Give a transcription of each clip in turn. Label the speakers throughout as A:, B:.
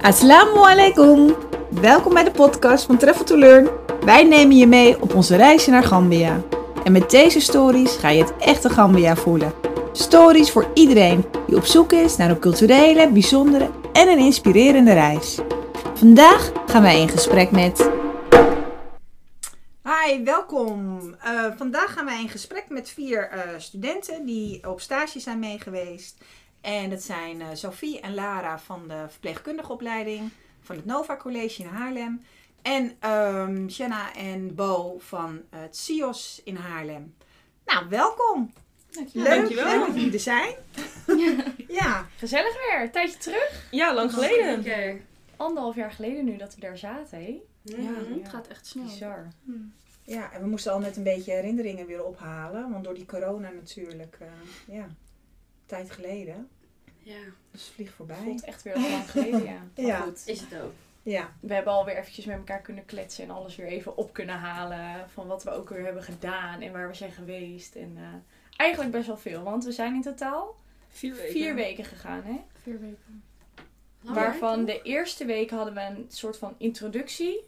A: Assalamu alaikum. Welkom bij de podcast van Travel to Learn. Wij nemen je mee op onze reisje naar Gambia. En met deze stories ga je het echte Gambia voelen. Stories voor iedereen die op zoek is naar een culturele, bijzondere en een inspirerende reis. Vandaag gaan wij in gesprek met. Hi, welkom. Eh, vandaag gaan wij in gesprek met vier eh, studenten die op stage zijn meegeweest. En dat zijn eh, Sophie en Lara van de verpleegkundige opleiding van het Nova College in Haarlem. En ehm Shanna en Bo van het CIOS in Haarlem. Nou, welkom.
B: Dankjewel.
A: Leuk,
B: Dankjewel.
A: leuk dat jullie er zijn. ja,
C: Gezellig weer, een tijdje terug.
B: Ja, lang geleden.
D: Zeker.
C: Anderhalf jaar geleden nu dat we daar zaten, hé.
B: Ja,
D: Mhm.
B: het gaat echt snel.
C: Bizar.
A: ja, en we moesten al net een beetje herinneringen weer ophalen. Want door die corona natuurlijk, eh, ja, een tijd geleden.
D: Ja,
A: Dus vlieg voorbij.
C: Voelt echt weer heel lang geleden, ja. Maar
A: Ja.
C: goed,
D: is het ook.
A: Ja,
C: we hebben alweer eventjes met elkaar kunnen kletsen en alles weer even op kunnen halen. Van wat we ook weer hebben gedaan en waar we zijn geweest. En eh, eigenlijk best wel veel, want we zijn in totaal
B: Vier weken.
C: vier weken gegaan, hè.
B: Vier weken.
D: Lang
C: Waarvan
D: werk,
C: de eerste week hadden we een soort van introductie.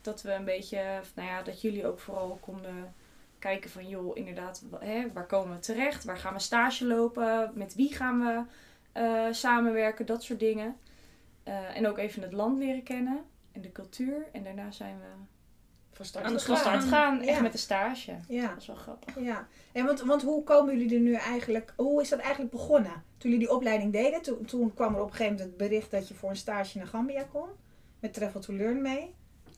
C: Dat we een beetje, of nou ja, dat jullie ook vooral konden kijken van joh, inderdaad, wa- hè, waar komen we terecht? Waar gaan we stage lopen? Met wie gaan we eh, samenwerken? Dat soort dingen. Eh, en ook even het land leren kennen en de cultuur. En daarna zijn we
A: van
B: Aan de
A: start.
C: van start
B: gaan.
C: gaan, echt
A: Oh, Ja.
C: met de stage.
A: Ja,
C: Dat is wel grappig.
A: ja. En want, want hoe komen jullie er nu eigenlijk, hoe is dat eigenlijk begonnen? Toen jullie die opleiding deden, toen, toen kwam er op een gegeven moment het bericht dat je voor een stage naar Gambia kon. Met Travel to Learn mee.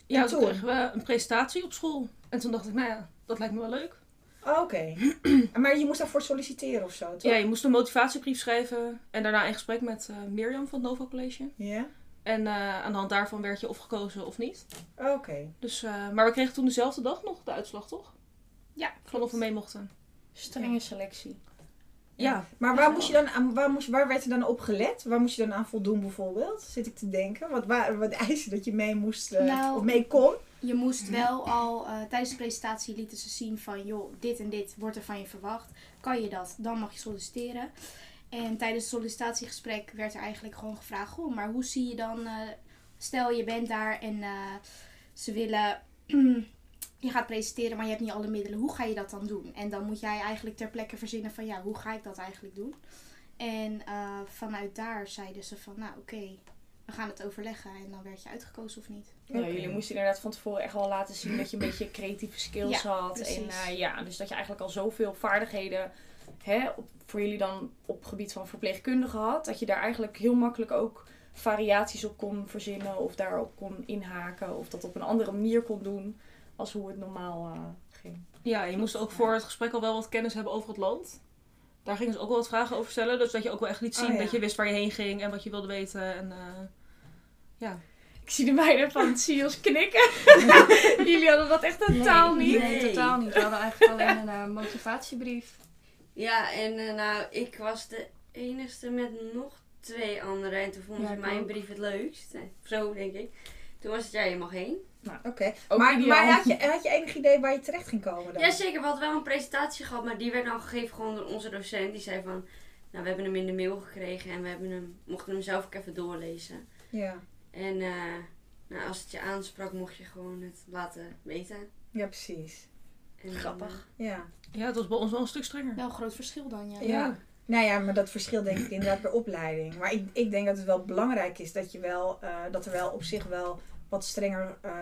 B: Ja,
A: En
B: toen
A: toen?
B: kregen we een presentatie op school. En toen dacht ik, nou ja, dat lijkt me wel leuk.
A: Oké. maar je moest daarvoor solliciteren of zo, toch?
B: Ja, je moest een motivatiebrief schrijven. En daarna in gesprek met eh, Mirjam van het Nova College.
A: Ja?
B: En eh, aan de hand daarvan werd je of gekozen of niet.
A: Oké.
B: Dus, eh, maar we kregen toen dezelfde dag nog de uitslag, toch? Ja. Van of we mee mochten.
C: Strenge selectie.
B: Ja.
A: Maar waar, moest je dan aan, waar, moest, waar werd er dan op gelet? Waar moest je dan aan voldoen bijvoorbeeld? Zit ik te denken. Wat, waar, wat eisen dat je mee moest eh,
D: Nou.
A: of mee kon?
D: Je moest wel al eh, tijdens de presentatie lieten ze zien van joh, dit en dit wordt er van je verwacht. Kan je dat? Dan mag je solliciteren. En tijdens het sollicitatiegesprek werd er eigenlijk gewoon gevraagd: goh, maar hoe zie je dan? eh, stel je bent daar en eh, ze willen. Je gaat presenteren, maar je hebt niet alle middelen. Hoe ga je dat dan doen? En dan moet jij eigenlijk ter plekke verzinnen van ja, hoe ga ik dat eigenlijk doen? En eh, vanuit daar zeiden ze van nou oké, we gaan het overleggen en dan werd je uitgekozen of niet.
C: Ja,
A: Oké.
C: jullie moesten inderdaad van tevoren echt wel laten zien dat je een beetje creatieve skills had. En
D: precies.
C: eh, ja, dus dat je eigenlijk al zoveel vaardigheden hè, op, voor jullie dan op gebied van verpleegkundige had. Dat je daar eigenlijk heel makkelijk ook variaties op kon verzinnen of daarop kon inhaken. Of dat op een andere manier kon doen als hoe het normaal eh, ging.
B: ja, je moest ook voor het gesprek al wel wat kennis hebben over het land. Daar gingen ze ook wel wat vragen over stellen. Dus dat je ook wel echt liet
A: Oh,
B: zien
A: ja.
B: dat je wist waar je heen ging en wat je wilde weten. En, eh, ja.
C: Ik zie de meiden van het CIO's knikken. Nou, jullie hadden dat echt totaal niet.
E: Nee,
F: Nee.
E: totaal niet. We hadden eigenlijk alleen een eh, motivatiebrief.
F: Ja, en eh, nou, ik was de enigste met nog twee anderen. En toen vonden
E: Ja,
F: ze
E: ik
F: mijn
E: ook.
F: brief het leukst. Eh, Zo, denk ik. Toen was het, ja, je mag heen.
A: Oké.
C: Ook
A: Maar,
C: ideaal.
A: maar had, je, had je enig idee waar je terecht ging komen dan?
F: Jazeker, we hadden wel een presentatie gehad, maar die werd nou gegeven gewoon door onze docent. Die zei van, nou, we hebben hem in de mail gekregen en we hebben hem, mochten hem zelf ook even doorlezen.
A: Ja.
F: En eh, nou, als het je aansprak, mocht je gewoon het laten weten.
A: ja, precies.
F: En, eh,
C: Grappig.
A: Ja.
B: ja, het was bij ons wel een stuk strenger.
D: Wel een groot verschil dan, ja.
A: Ja. Nou ja, maar dat verschil denk ik inderdaad per opleiding. Maar ik, ik denk dat het wel belangrijk is dat, je wel, eh, dat er wel op zich wel wat strenger, ehm,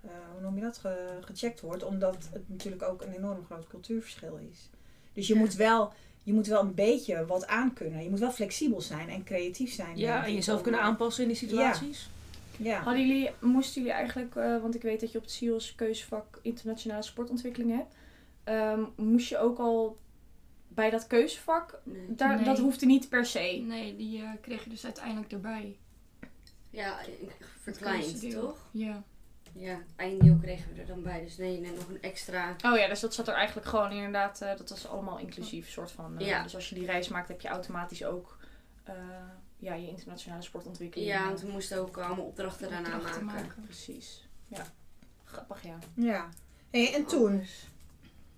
A: eh, hoe noem je dat, ge- gecheckt wordt. Omdat het natuurlijk ook een enorm groot cultuurverschil is. Dus je, moet, wel, je moet wel een beetje wat aankunnen. Je moet wel flexibel zijn en creatief zijn. denk
B: Ja, en
A: ik
B: jezelf
A: ook.
B: kunnen aanpassen in die situaties.
A: Ja.
C: Hadden jullie, moesten jullie eigenlijk, eh, want ik weet dat je op het CIO's keuzevak internationale sportontwikkeling hebt, ehm, moest je ook al bij dat keuzevak,
F: Nee.
C: daar,
E: Nee.
C: dat hoefde niet per se.
E: Nee, die eh, kreeg je dus uiteindelijk erbij.
F: Ja, eh, verkleind,
E: keuzedeel.
F: toch?
E: Ja.
F: Ja, het einddeel kregen we er dan bij. Dus nee, net nog een extra...
C: Oh ja, dus dat zat er eigenlijk gewoon inderdaad, eh, dat was allemaal inclusief, soort van. eh,
F: Ja.
C: Dus als je die reis maakt, heb je automatisch ook eh, ja, je internationale sportontwikkeling.
F: Ja,
C: eh,
F: want we moesten ook allemaal opdrachten daarna
E: Opdrachten
F: maken.
C: precies. Ja, grappig ja.
A: ja. Hey, en toen?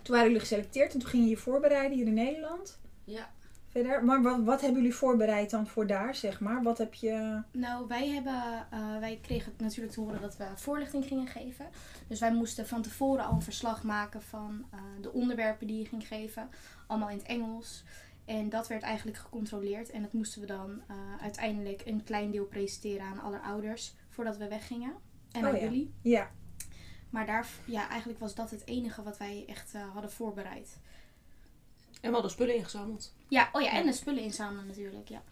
A: Toen waren jullie geselecteerd en toen gingen je je voorbereiden hier in Nederland.
F: Ja.
A: verder. Maar wat, wat hebben jullie voorbereid dan voor daar, zeg maar? Wat heb je...
D: Nou, wij, hebben, eh, wij kregen natuurlijk te horen dat we voorlichting gingen geven. Dus wij moesten van tevoren al een verslag maken van eh, de onderwerpen die je ging geven. Allemaal in het Engels. En dat werd eigenlijk gecontroleerd. En dat moesten we dan eh, uiteindelijk een klein deel presenteren aan alle ouders voordat we weggingen. En
A: Oh
D: aan
A: ja.
D: jullie.
A: Ja,
D: Maar daar, ja, eigenlijk was dat het enige wat wij echt eh, hadden voorbereid.
B: En we hadden spullen ingezameld.
D: Ja, oh ja, en de spullen inzamelen natuurlijk. Ja.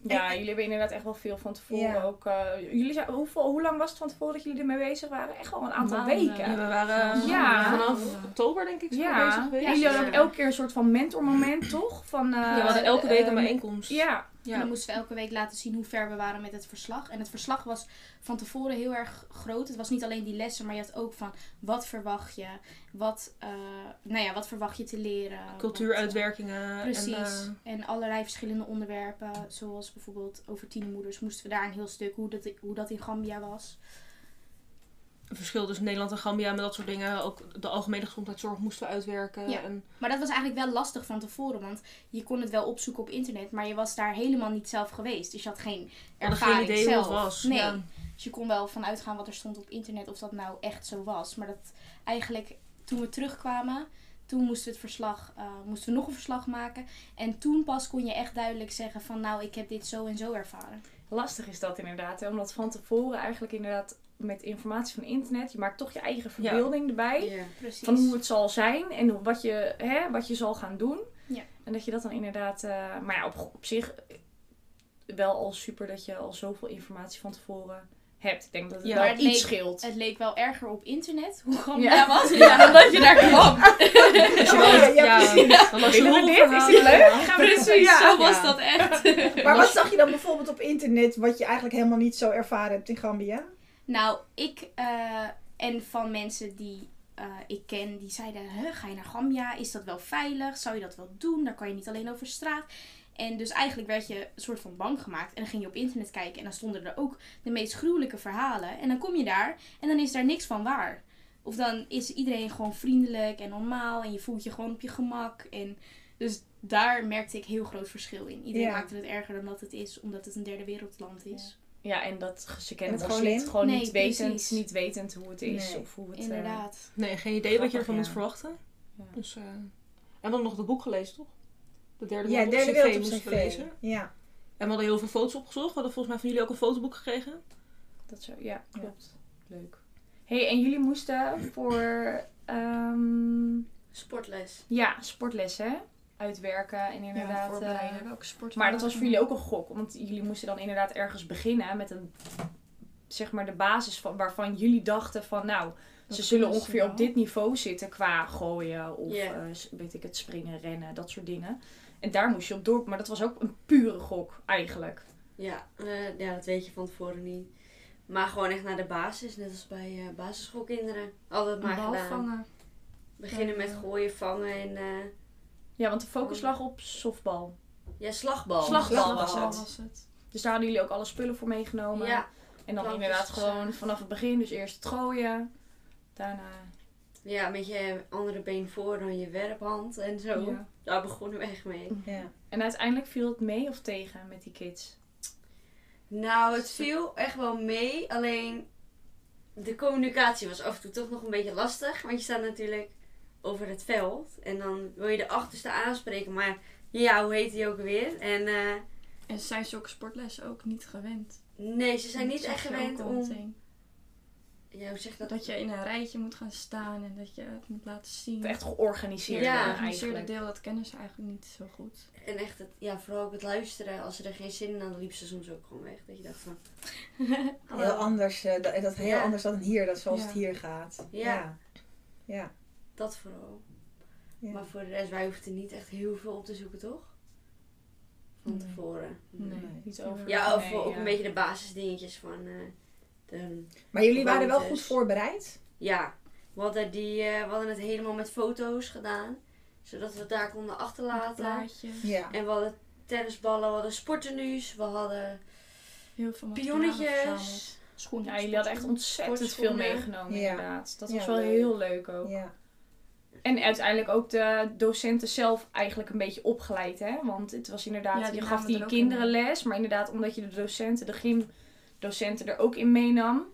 C: Ja, jullie hebben inderdaad echt wel veel van tevoren
A: Ja.
C: ook. eh, jullie zijn, hoeveel, hoe lang was het van tevoren dat jullie ermee bezig waren? Echt wel een aantal
E: Maanden.
C: weken.
B: Ja, we waren eh,
C: Ja.
B: vanaf oktober denk ik zo bezig
C: Ja,
B: geweest.
C: en jullie hadden ook
F: Ja.
C: elke keer een soort van mentormoment, toch? Van, eh,
B: Ja, we hadden elke week een
C: eh,
B: bijeenkomst.
C: Ja,
D: En
B: Ja.
D: dan moesten we elke week laten zien hoe ver we waren met het verslag. En het verslag was van tevoren heel erg groot. Het was niet alleen die lessen, maar je had ook van wat verwacht je? Wat, eh, nou ja, wat verwacht je te leren? Wat, eh,
B: Cultuuruitwerkingen.
D: Precies.
B: En, eh,
D: En, allerlei verschillende onderwerpen. Zoals bijvoorbeeld over tienermoeders moesten we daar een heel stuk hoe dat, hoe dat in Gambia was.
B: het verschil tussen Nederland en Gambia met dat soort dingen. Ook de algemene gezondheidszorg moesten we uitwerken.
D: Ja.
B: En
D: Maar dat was eigenlijk wel lastig van tevoren. Want je kon het wel opzoeken op internet, maar je was daar helemaal niet zelf geweest. Dus je had geen
B: we hadden
D: ervaring
B: geen idee
D: zelf.
B: hoe het was.
D: Nee.
B: Ja.
D: Dus je kon wel vanuit gaan wat er stond op internet of dat nou echt zo was. Maar dat eigenlijk toen we terugkwamen, toen moesten we het verslag, eh, moesten we nog een verslag maken. En toen pas kon je echt duidelijk zeggen van nou, ik heb dit zo en zo ervaren.
C: lastig is dat inderdaad. Hè? Omdat van tevoren eigenlijk inderdaad met informatie van internet, je maakt toch je eigen verbeelding erbij.
F: Ja.
D: Precies.
C: Van hoe het zal zijn en wat je, hè, wat je zal gaan doen.
D: Ja.
C: En dat je dat dan inderdaad... eh, maar ja, op, op zich eh, wel al super dat je al zoveel informatie van tevoren hebt. Ik denk dat het
B: Ja.
C: wel
D: Maar
C: iets
D: het leek-
C: scheelt.
D: Het leek wel erger op internet hoe Gambia
C: Ja.
D: was dan dat je daar kwam.
B: Dus je
A: Oh,
B: was-
A: ja, ja,
B: ja, dan was je
C: Willen we dit?
B: hulpverhaal.
C: Is dit leuk? Gaan we dit doen?
D: Precies, zo was
B: Ja.
D: dat echt.
A: maar wat zag je dan bijvoorbeeld op internet wat je eigenlijk helemaal niet zo ervaren hebt in Gambia?
D: Nou, ik eh, en van mensen die eh, ik ken, die zeiden: "Huh, ga je naar Gambia? Is dat wel veilig? Zou je dat wel doen? Daar kan je niet alleen over straat. En dus eigenlijk werd je een soort van bang gemaakt. En dan ging je op internet kijken en dan stonden er ook de meest gruwelijke verhalen. En dan kom je daar en dan is daar niks van waar. Of dan is iedereen gewoon vriendelijk en normaal en je voelt je gewoon op je gemak. En dus daar merkte ik heel groot verschil in. Iedereen
A: Ja.
D: maakte het erger dan dat het is, omdat het een derde wereldland is.
C: Ja, en dat ze
A: En
C: kennen het gewoon
A: moslim?
C: niet. Gewoon
D: Nee,
C: niet, wetend,
D: precies.
C: niet wetend hoe het is.
A: Nee,
C: of hoe het, eh,
D: Inderdaad.
B: Nee, geen idee wat je
C: Grappig,
B: ervan
C: ja.
B: moet verwachten.
C: Ja.
B: Dus, eh, en we hadden nog dat boek gelezen, toch? De derde
A: Ja,
B: wereld op
A: derde
B: CV
A: wereld op
B: moesten
A: zijn
B: we lezen.
A: Ja.
B: En we hadden heel veel foto's opgezocht. We hadden volgens mij van jullie ook een fotoboek gekregen.
C: dat zo, ja, klopt. Leuk. hey, en jullie moesten voor ehm,
F: Sportles.
C: ja, sportlessen uitwerken en
E: Ja,
C: inderdaad.
E: voorbereiden.
C: eh,
E: Welke sport
C: maar dat
E: we
C: was voor jullie ook een gok, want jullie moesten dan inderdaad ergens beginnen met een, zeg maar, de basis van, waarvan jullie dachten van, nou, ze zullen
E: kunnen ze
C: ongeveer
E: wel.
C: op dit niveau zitten qua gooien of
F: Ja.
C: eh, s- weet ik het, springen, rennen, dat soort dingen. En daar moest je op door, maar dat was ook een pure gok eigenlijk.
F: Ja, eh, ja, dat weet je van tevoren niet. Maar gewoon echt naar de basis, net als bij eh, basisschoolkinderen. Altijd maar
E: Een bal
F: gedaan.
E: vangen.
F: Beginnen met gooien, vangen en eh,
C: Ja, want de
E: Ehm.
C: focus lag op softbal.
F: ja, slagbal.
C: Slagbal.
E: Slagbal
C: was het.
E: was het.
C: Dus daar hadden jullie ook alle spullen voor meegenomen.
F: Ja,
C: en dan
E: eh,
F: plantjes
C: inderdaad
F: gezaagd.
C: gewoon vanaf het begin, dus eerst het gooien. Daarna.
F: ja, met je andere been voor dan je werphand en
E: Oh.
F: zo.
C: Ja.
F: Daar begonnen we echt mee.
A: ja.
C: En uiteindelijk viel het mee of tegen met die kids?
F: Nou, het viel echt wel mee. Alleen de communicatie was af en toe toch nog een beetje lastig. Want je staat natuurlijk over het veld. En dan wil je de achterste aanspreken. Maar ja, hoe heet die ook weer? En eh,
E: En zijn ze ook sportles ook niet gewend?
F: nee, ze zijn
E: Dat
F: niet
E: zag
F: echt
E: je ook
F: gewend
E: al
F: om...
E: meteen.
F: Ja, hoe zeg je dat?
E: Dat je in een rijtje moet gaan staan en dat je het moet laten zien.
C: Het echt georganiseerd
F: Ja,
C: eh,
E: het georganiseerde
C: eigenlijk.
E: deel, dat kennen ze eigenlijk niet zo goed.
F: En echt, het, ja, vooral ook het luisteren. Als ze er geen zin in hadden, liep ze soms ook gewoon weg. Dat je dacht van... hallo.
A: Heel anders, eh, dat, dat heel
F: Ja.
A: anders dan hier, dat zoals
E: Ja.
A: het hier gaat.
F: Ja.
A: Ja. Ja.
F: Dat vooral.
A: Ja.
F: Maar voor de rest, wij hoefden niet echt heel veel op te zoeken, toch? Van
C: Nee.
F: tevoren.
E: Nee.
A: Nee.
C: Niet over.
F: Ja, of
C: nee,
F: ook
C: ja.
F: een beetje de basisdingetjes van... eh, de,
A: Maar jullie waren wel
F: Gewoontes.
A: goed voorbereid.
F: ja, we hadden, die, eh, we hadden het helemaal met foto's gedaan. Zodat we het daar konden achterlaten.
E: Plaatjes.
A: Ja.
F: En we hadden tennisballen, we hadden sporttenues, we hadden
E: Heel veel materialen verzameld.
F: pionnetjes.
D: Schoenen.
C: Ja, jullie hadden echt ontzettend veel
F: Sportschoenen.
C: meegenomen
A: Ja.
C: inderdaad. Dat
A: Ja,
C: was wel
A: leuk.
C: heel leuk ook.
A: Ja.
C: En uiteindelijk ook de docenten zelf eigenlijk een beetje opgeleid, hè? Want het was inderdaad,
E: Ja, die
C: je
E: namen
C: gaf
E: het
C: die
E: er ook
C: kinderen
E: in
C: les, maar inderdaad omdat je de docenten, de gymdocenten er ook in meenam,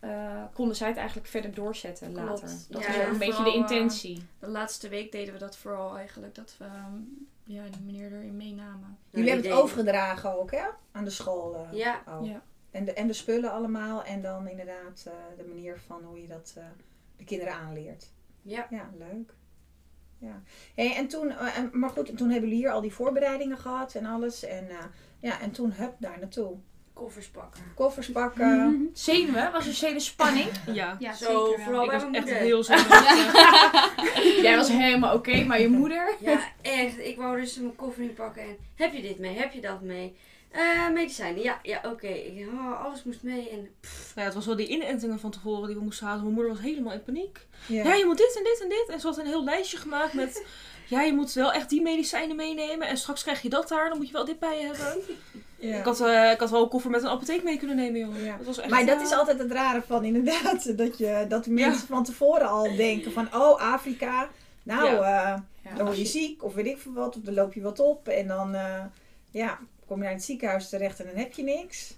C: eh, konden zij het eigenlijk verder doorzetten
E: Klopt.
C: later. Dat
F: Ja,
C: was ook een
E: en
C: beetje de
E: vooral, eh,
C: intentie.
E: De laatste week deden we dat vooral eigenlijk. Dat we ehm, ja, die meneer erin meenamen.
A: Jullie hebben
F: idee.
A: het overgedragen ook, hè? Aan de school. eh.
F: Nou, Ja,
A: Oh.
E: Ja.
A: En, de, en de spullen allemaal. En dan inderdaad eh, de manier van hoe je dat eh, de kinderen aanleert.
F: Ja.
A: Ja, leuk. Ja. Hey, en toen, eh, en- maar goed, toen hebben jullie hier al die voorbereidingen gehad en alles. En, eh, ja, en toen hup daar naartoe.
F: koffers pakken.
A: Koffers pakken.
C: Zenuwen? Was er zenuwspanning?
B: Ja.
D: Ja,
F: Zo,
D: zeker wel.
F: vooral- Oh,
B: ik
F: bij
B: was
F: mijn
B: echt
F: moeder.
B: heel zenuwachtig.
C: Jij was helemaal oké, maar je moeder?
F: Ja, echt. Ik wou dus mijn koffer niet pakken en heb je dit mee? Heb je dat mee? Eh, medicijnen, ja, ja, oké. Ik- oh, alles moest mee en
B: ja, het was wel die inentingen van tevoren die we moesten halen. Mijn moeder was helemaal in paniek.
A: Ja.
B: Ja, je moet dit en dit en dit. En ze had een heel lijstje gemaakt met... Ja, je moet wel echt die medicijnen meenemen. En straks krijg je dat daar. Dan moet je wel dit bij je hebben.
A: Ja.
B: Ik, had, eh, ik had wel een koffer met een apotheek mee kunnen nemen, joh.
A: Ja.
B: Dat was echt,
A: Maar dat
B: eh,
A: is altijd het rare van inderdaad. Dat, je, dat mensen van tevoren al denken van, oh Afrika, nou
B: Ja.
A: eh,
C: Ja,
A: dan word je ziek of weet ik veel wat. Of dan loop je wat op en dan eh, ja, kom je naar het ziekenhuis terecht en dan heb je niks.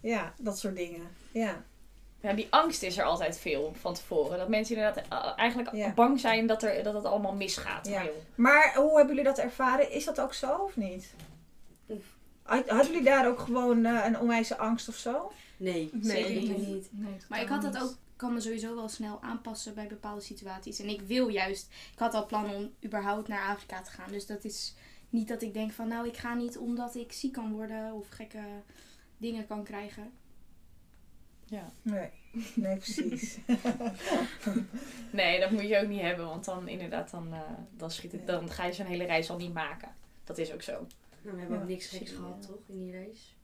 A: Ja, dat soort dingen. Ja,
C: die angst is er altijd veel van tevoren. Dat mensen inderdaad eh, eigenlijk
A: Ja.
C: bang zijn dat, er, dat het allemaal misgaat.
A: Ja.
C: Heel.
A: Maar hoe hebben jullie dat ervaren? Is dat ook zo of niet? Had- Hadden jullie daar ook gewoon eh, een onwijze angst of zo?
F: nee,
B: Nee.
F: zeker niet.
E: Nee,
D: Maar ik had dat ook, kan me sowieso wel snel aanpassen bij bepaalde situaties. En ik wil juist, ik had al plannen om überhaupt naar Afrika te gaan. Dus dat is niet dat ik denk van, nou ik ga niet omdat ik ziek kan worden of gekke dingen kan krijgen.
A: Nee. Nee, precies.
C: Nee, dat moet je ook niet hebben, want dan inderdaad, dan, eh, dan, schiet het, dan ga je zo'n hele reis al niet maken. Dat is ook zo.
F: Nou, we hebben
A: Ja,
F: ook niks geks
C: precies,
F: gehad,
C: ja.
F: toch, in die reis?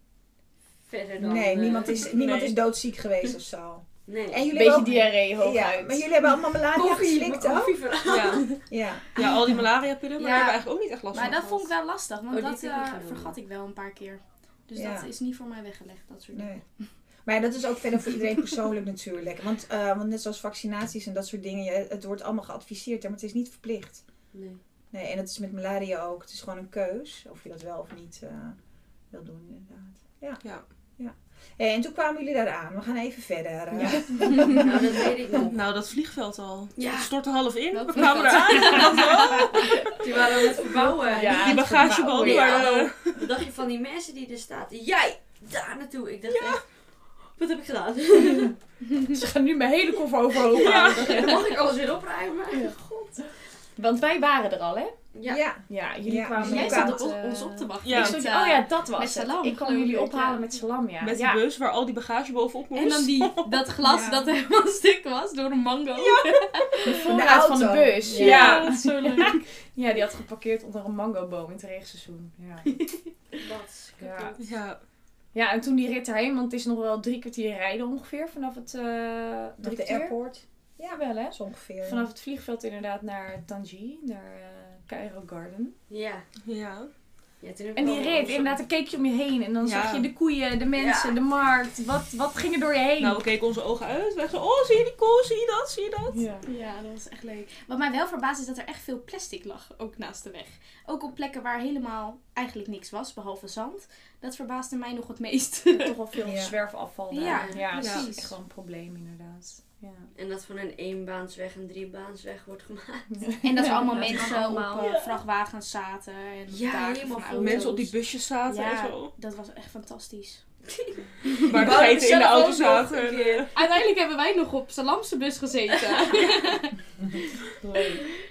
F: Verder dan...
A: nee,
F: eh,
A: niemand is, niemand
B: nee.
A: is doodziek geweest of zo.
F: Nee.
A: En jullie
C: Beetje
A: hebben
C: diarree
A: ook, ja,
C: hooguit.
A: maar jullie hebben allemaal malaria geslikt
F: mijn
A: ook?
F: koffie verhaal.
B: Ja,
A: Ja.
B: ja al die malaria-pillen. Maar
D: Ja.
B: daar hebben we eigenlijk ook niet echt last
D: Maar
B: van
D: dat vond ik
B: gehad.
D: wel lastig, want
F: Oh, die
D: dat
F: heb ik niet
D: eh,
F: gedaan.
D: vergat ik wel een paar keer. Dus
A: Ja.
D: dat is niet voor mij weggelegd, dat soort dingen.
A: Nee. Maar ja, dat is ook verder voor iedereen persoonlijk natuurlijk. Want, eh, want net zoals vaccinaties en dat soort dingen, je- het wordt allemaal geadviseerd, hè, maar het is niet verplicht.
F: Nee.
A: Nee, en dat is met malaria ook. Het is gewoon een keus of je dat wel of niet eh, wil doen inderdaad.
B: Ja.
A: Hey, en toen kwamen jullie daar aan. We gaan even verder. eh.
F: Nou, dat weet ik nog.
B: Nou, dat vliegveld al.
F: Ja.
B: Het stortte half in.
D: Welk
B: we kwamen eraan.
F: Die waren aan het verbouwen.
C: Ja.
B: die
C: het
B: bagageband.
C: verbouwen,
B: waar
F: ja.
B: de-
F: Wat dacht je van die mensen die er staat? Jij, daar naartoe. Ik dacht echt, wat heb ik gedaan?
C: Ze gaan nu mijn hele koffer overhoop halen.
F: Mag ik alles weer opruimen?
C: Want wij waren er al, hè?
F: Ja.
A: ja.
C: Ja, jullie
A: Ja,
C: kwamen...
A: dus jij
C: met,
A: zat
C: eh,
D: wachten.
B: ja.
C: ik
D: Met,
C: stond-
D: eh,
C: oh ja, dat was
D: met
C: het.
D: salam,
C: ik kwam
D: geloof
C: jullie
D: ik,
C: ophalen
D: ja.
C: met salam, ja.
B: Met
C: ja.
B: die bus waar al die bagage bovenop moest.
D: En dan die, dat glas
A: Ja.
D: dat helemaal stuk was door een mango.
C: voorraad van de
A: auto.
C: bus.
B: Ja.
C: dat is zo leuk. ja, die had geparkeerd onder een mangoboom in het regenseizoen. Ja.
F: Dat is
C: Ja.
F: kapot.
B: Ja,
C: ja, en toen die rit erheen, want het is nog wel drie kwartier rijden ongeveer vanaf het... eh drie
A: Op de
C: kwartier?
A: airport.
C: Ja, wel hè.
A: Dat is ongeveer.
C: Vanaf het vliegveld inderdaad naar Tangier, naar eh, Cairo Garden.
F: Ja.
B: ja.
F: ja toen heb ik
C: En die
F: wel-
C: rit, inderdaad, dan keek je om je heen en dan
B: Ja.
C: zag je de koeien, de mensen,
F: Ja.
C: de markt. Wat, wat ging er door je heen?
B: Nou, we keken onze ogen uit. Wij zeiden, oh, zie je die kool? Zie je dat? Zie je dat?
C: ja.
D: Ja, dat was echt leuk. Wat mij wel verbaast is dat er echt veel plastic lag, ook naast de weg. Ook op plekken waar helemaal eigenlijk niks was, behalve zand. Dat verbaasde mij nog het meest.
C: Toch wel veel
A: Ja.
C: zwerfafval daar.
D: Ja,
C: dat is
D: precies.
C: echt wel een probleem inderdaad. Ja.
F: En dat van een eenbaansweg een driebaansweg wordt gemaakt.
D: En dat er
C: Ja,
D: allemaal
C: dat
D: mensen
C: kan allemaal.
D: op eh, vrachtwagens zaten. En op
F: Ja,
D: daken
F: helemaal
D: van
F: vol.
D: auto's.
B: Mensen op die busjes zaten
D: Nou, Ja.
B: en zo.
D: Dat was echt fantastisch.
B: Waar de
F: wouden
B: geiten in
F: zelf
B: de auto
F: ook
B: zaten.
F: nog een
B: en,
F: keer.
B: eh,
D: Uiteindelijk hebben wij nog op Salamse bus gezeten.
C: Leuk.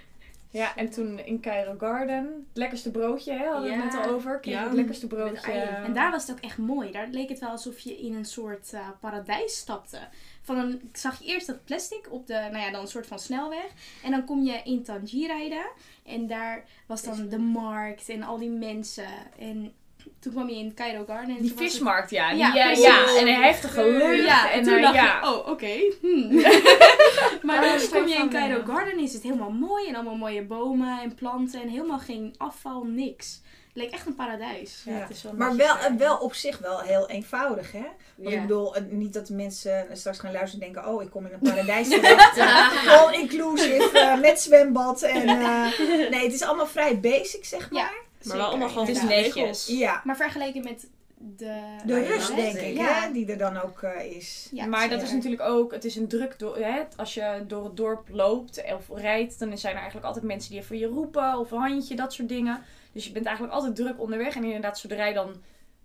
C: Ja, en toen in Cairo Garden, het lekkerste broodje, hè, hadden we het
F: Ja.
C: net al over. Kreeg
B: Ja.
C: het lekkerste
F: Met
C: broodje.
F: ei.
D: En daar was het ook echt mooi. Daar leek het wel alsof je in een soort eh, paradijs stapte. Van een, ik zag je eerst dat plastic op de, nou ja, dan een soort van snelweg. En dan kom je in Tangier rijden. En daar was dan de markt en al die mensen. En toen kwam je in Cairo Garden. En
C: die
D: toen was het-
C: vismarkt, ja. Die,
D: Ja,
C: Ja, ja,
D: precies.
C: en een heftige lucht.
D: Ja, en
C: en
D: toen
C: eh,
D: dacht
C: ja.
D: ik, oh, oké. hmm. maar
E: Daar
D: dan
E: is het
D: kom je
E: van,
D: in Cairo
E: eh,
D: Garden, is het helemaal mooi. En allemaal mooie bomen en planten. En helemaal geen afval, niks. leek echt een paradijs.
A: Ja.
C: het is wel
A: Maar
C: netjes
A: wel, eh,
B: eh,
C: daar.
A: wel op zich wel heel eenvoudig, hè? Want ik
F: Ja.
A: bedoel, eh, niet dat mensen straks gaan luisteren en denken... Oh, ik kom in een paradijs terecht. All inclusive, eh, met zwembad. En, eh, nee, het is allemaal vrij basic, zeg maar.
B: Maar wel allemaal gewoon
D: Het is
B: goede
C: netjes.
B: regels.
A: Ja.
D: Maar vergeleken met de...
A: De
F: Maar je
A: rust,
F: mag
A: denk
F: het.
A: ik,
D: Ja.
A: hè? Die er dan ook eh, is.
D: Ja,
C: maar dat
A: zeker.
C: is natuurlijk ook, het is een druk, do- hè? als je door het dorp loopt of rijdt, dan zijn er eigenlijk altijd mensen die even je roepen of een handje, dat soort dingen. Dus je bent eigenlijk altijd druk onderweg. En inderdaad, zodra je dan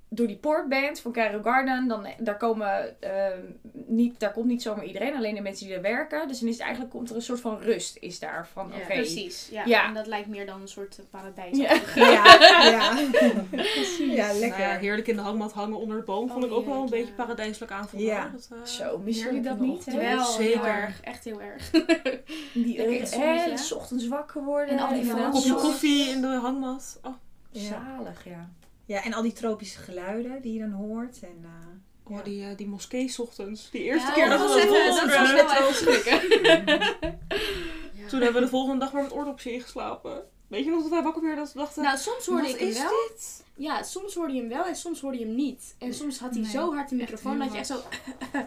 C: door die poort bent van Cairo Garden, dan daar, komen, ehm, niet, daar komt niet zomaar iedereen, alleen de mensen die daar werken. Dus dan is het eigenlijk, komt er een soort van rust is daar van,
F: Ja.
C: oké.
D: Precies, ja.
C: Ja.
D: En dat lijkt meer dan een soort eh, paradijs.
C: Ja.
A: Ja, ja. ja
B: Nou ja,
A: lekker.
B: heerlijk in de hangmat hangen onder de boom vond ik ook wel een
D: Oh, heerlijk,
B: beetje
D: ja.
B: paradijselijk aanvoelen.
A: Ja.
B: hoor. Dat, eh,
C: Zo, missen jullie dat
E: Heerlijk in de
C: niet?
E: ochtend.
C: hè?
D: Wel,
B: Zeker.
D: heel erg. Echt heel erg.
C: Die
D: Lekker in het zonnetje,
C: hè, 's ochtends wakker worden.
D: En al die
C: inderdaad.
D: vogels.
B: Kopje
D: Zoals-
B: koffie in de hangmat. Oh,
A: Ja.
C: Zalig, ja.
A: ja, en al die tropische geluiden die je dan hoort. En, eh,
B: oh
A: Ja.
B: die, eh, die moskee ochtends. Die eerste
D: Ja,
B: keer dat we
D: was
B: dat
D: even-
B: hoorden.
D: dat was wel even
F: Ja.
B: Toen hebben we de volgende dag maar met oordopjes ingeslapen. Weet je nog dat wij wakker werden dat we dachten...
D: Nou, soms hoorde
B: wat
D: ik hem
B: is
D: wel. Ja, soms hoorde je hem wel en soms hoorde je hem niet. En soms had hij
E: Nee,
D: zo hard de
E: echt
D: microfoon
E: heel
D: dat je echt zo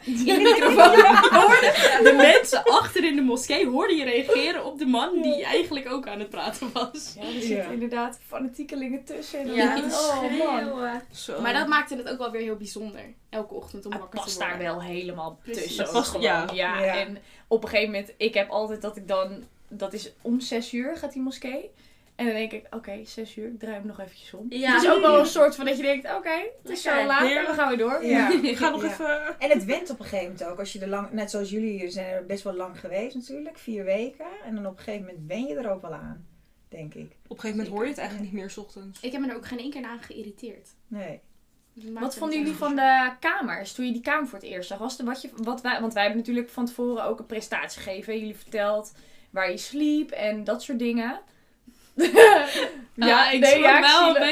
E: in de microfoon hoorde. De mensen achter in de moskee hoorden je reageren op de man die eigenlijk ook aan het praten was.
C: Ja, er
A: Ja.
C: zitten inderdaad fanatiekelingen tussen. En
F: Ja,
C: dan-
F: het
C: oh man.
F: schreeuwen.
B: Zo.
D: Maar dat maakte het ook wel weer heel bijzonder. Elke ochtend om
C: Het
D: wakker te
C: past
D: worden.
C: daar wel helemaal
D: Precies.
C: tussen.
B: Het past-
C: gewoon.
B: ja.
A: Ja.
C: En op een gegeven moment, ik heb altijd dat ik dan, dat is om zes uur gaat die moskee. En dan denk ik, oké, zes uur, ik draai hem nog eventjes om.
F: Ja.
C: Het is ook wel een soort van dat je denkt, oké, het is zo
F: Lekker.
C: laat en we
B: Heerlijk.
C: gaan weer door.
A: ja.
B: Ik ga nog
A: Ja.
B: even...
A: En het went op een gegeven moment ook. Als je er lang, net zoals jullie hier zijn er best wel lang geweest natuurlijk. Vier weken. En dan op een gegeven moment ben je er ook wel aan. Denk ik.
B: Op een gegeven moment hoor je het eigenlijk niet meer 's ochtends.
D: Ik heb me er ook geen één keer aan geïrriteerd.
A: Nee.
D: Dat maakte
C: Wat
D: het
C: vonden
D: echt
C: jullie van de kamers, toen je die kamer voor het eerst zag? Was er wat je, wat wij, want wij hebben natuurlijk van tevoren ook een presentatie gegeven. Jullie verteld waar je sliep en dat soort dingen.
E: Ja, ik
C: nee,
E: schrok
C: ja,
E: wel
C: zie
E: een
C: dat.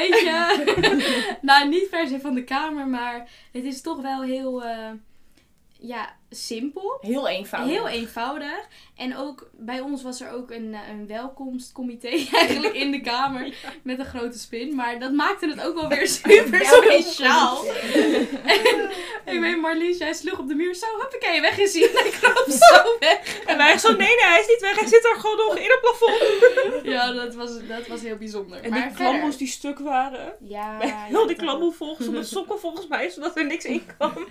E: beetje.
D: Nou, niet per se van de kamer, maar het is toch wel heel eh, ja, simpel.
C: Heel eenvoudig.
D: Heel eenvoudig. En ook bij ons was er ook een, eh, een welkomstcomité eigenlijk in de kamer. Met een grote spin. Maar dat maakte het ook wel weer super speciaal. Ik weet, Marlies, jij sloeg op de muur zo, hoppakee, weg is hij. En ik kroop zo weg.
B: En wij echt zo, nee, nee, hij is niet weg. Hij zit daar gewoon nog in het plafond.
D: Ja, dat was, dat was heel bijzonder.
B: En
D: maar
B: die
D: verder-
B: klammels die stuk waren.
D: Ja,
B: Met
D: ja,
B: heel die
D: dat-
B: klammel volgens met sokken volgens mij, zodat er niks in kwam.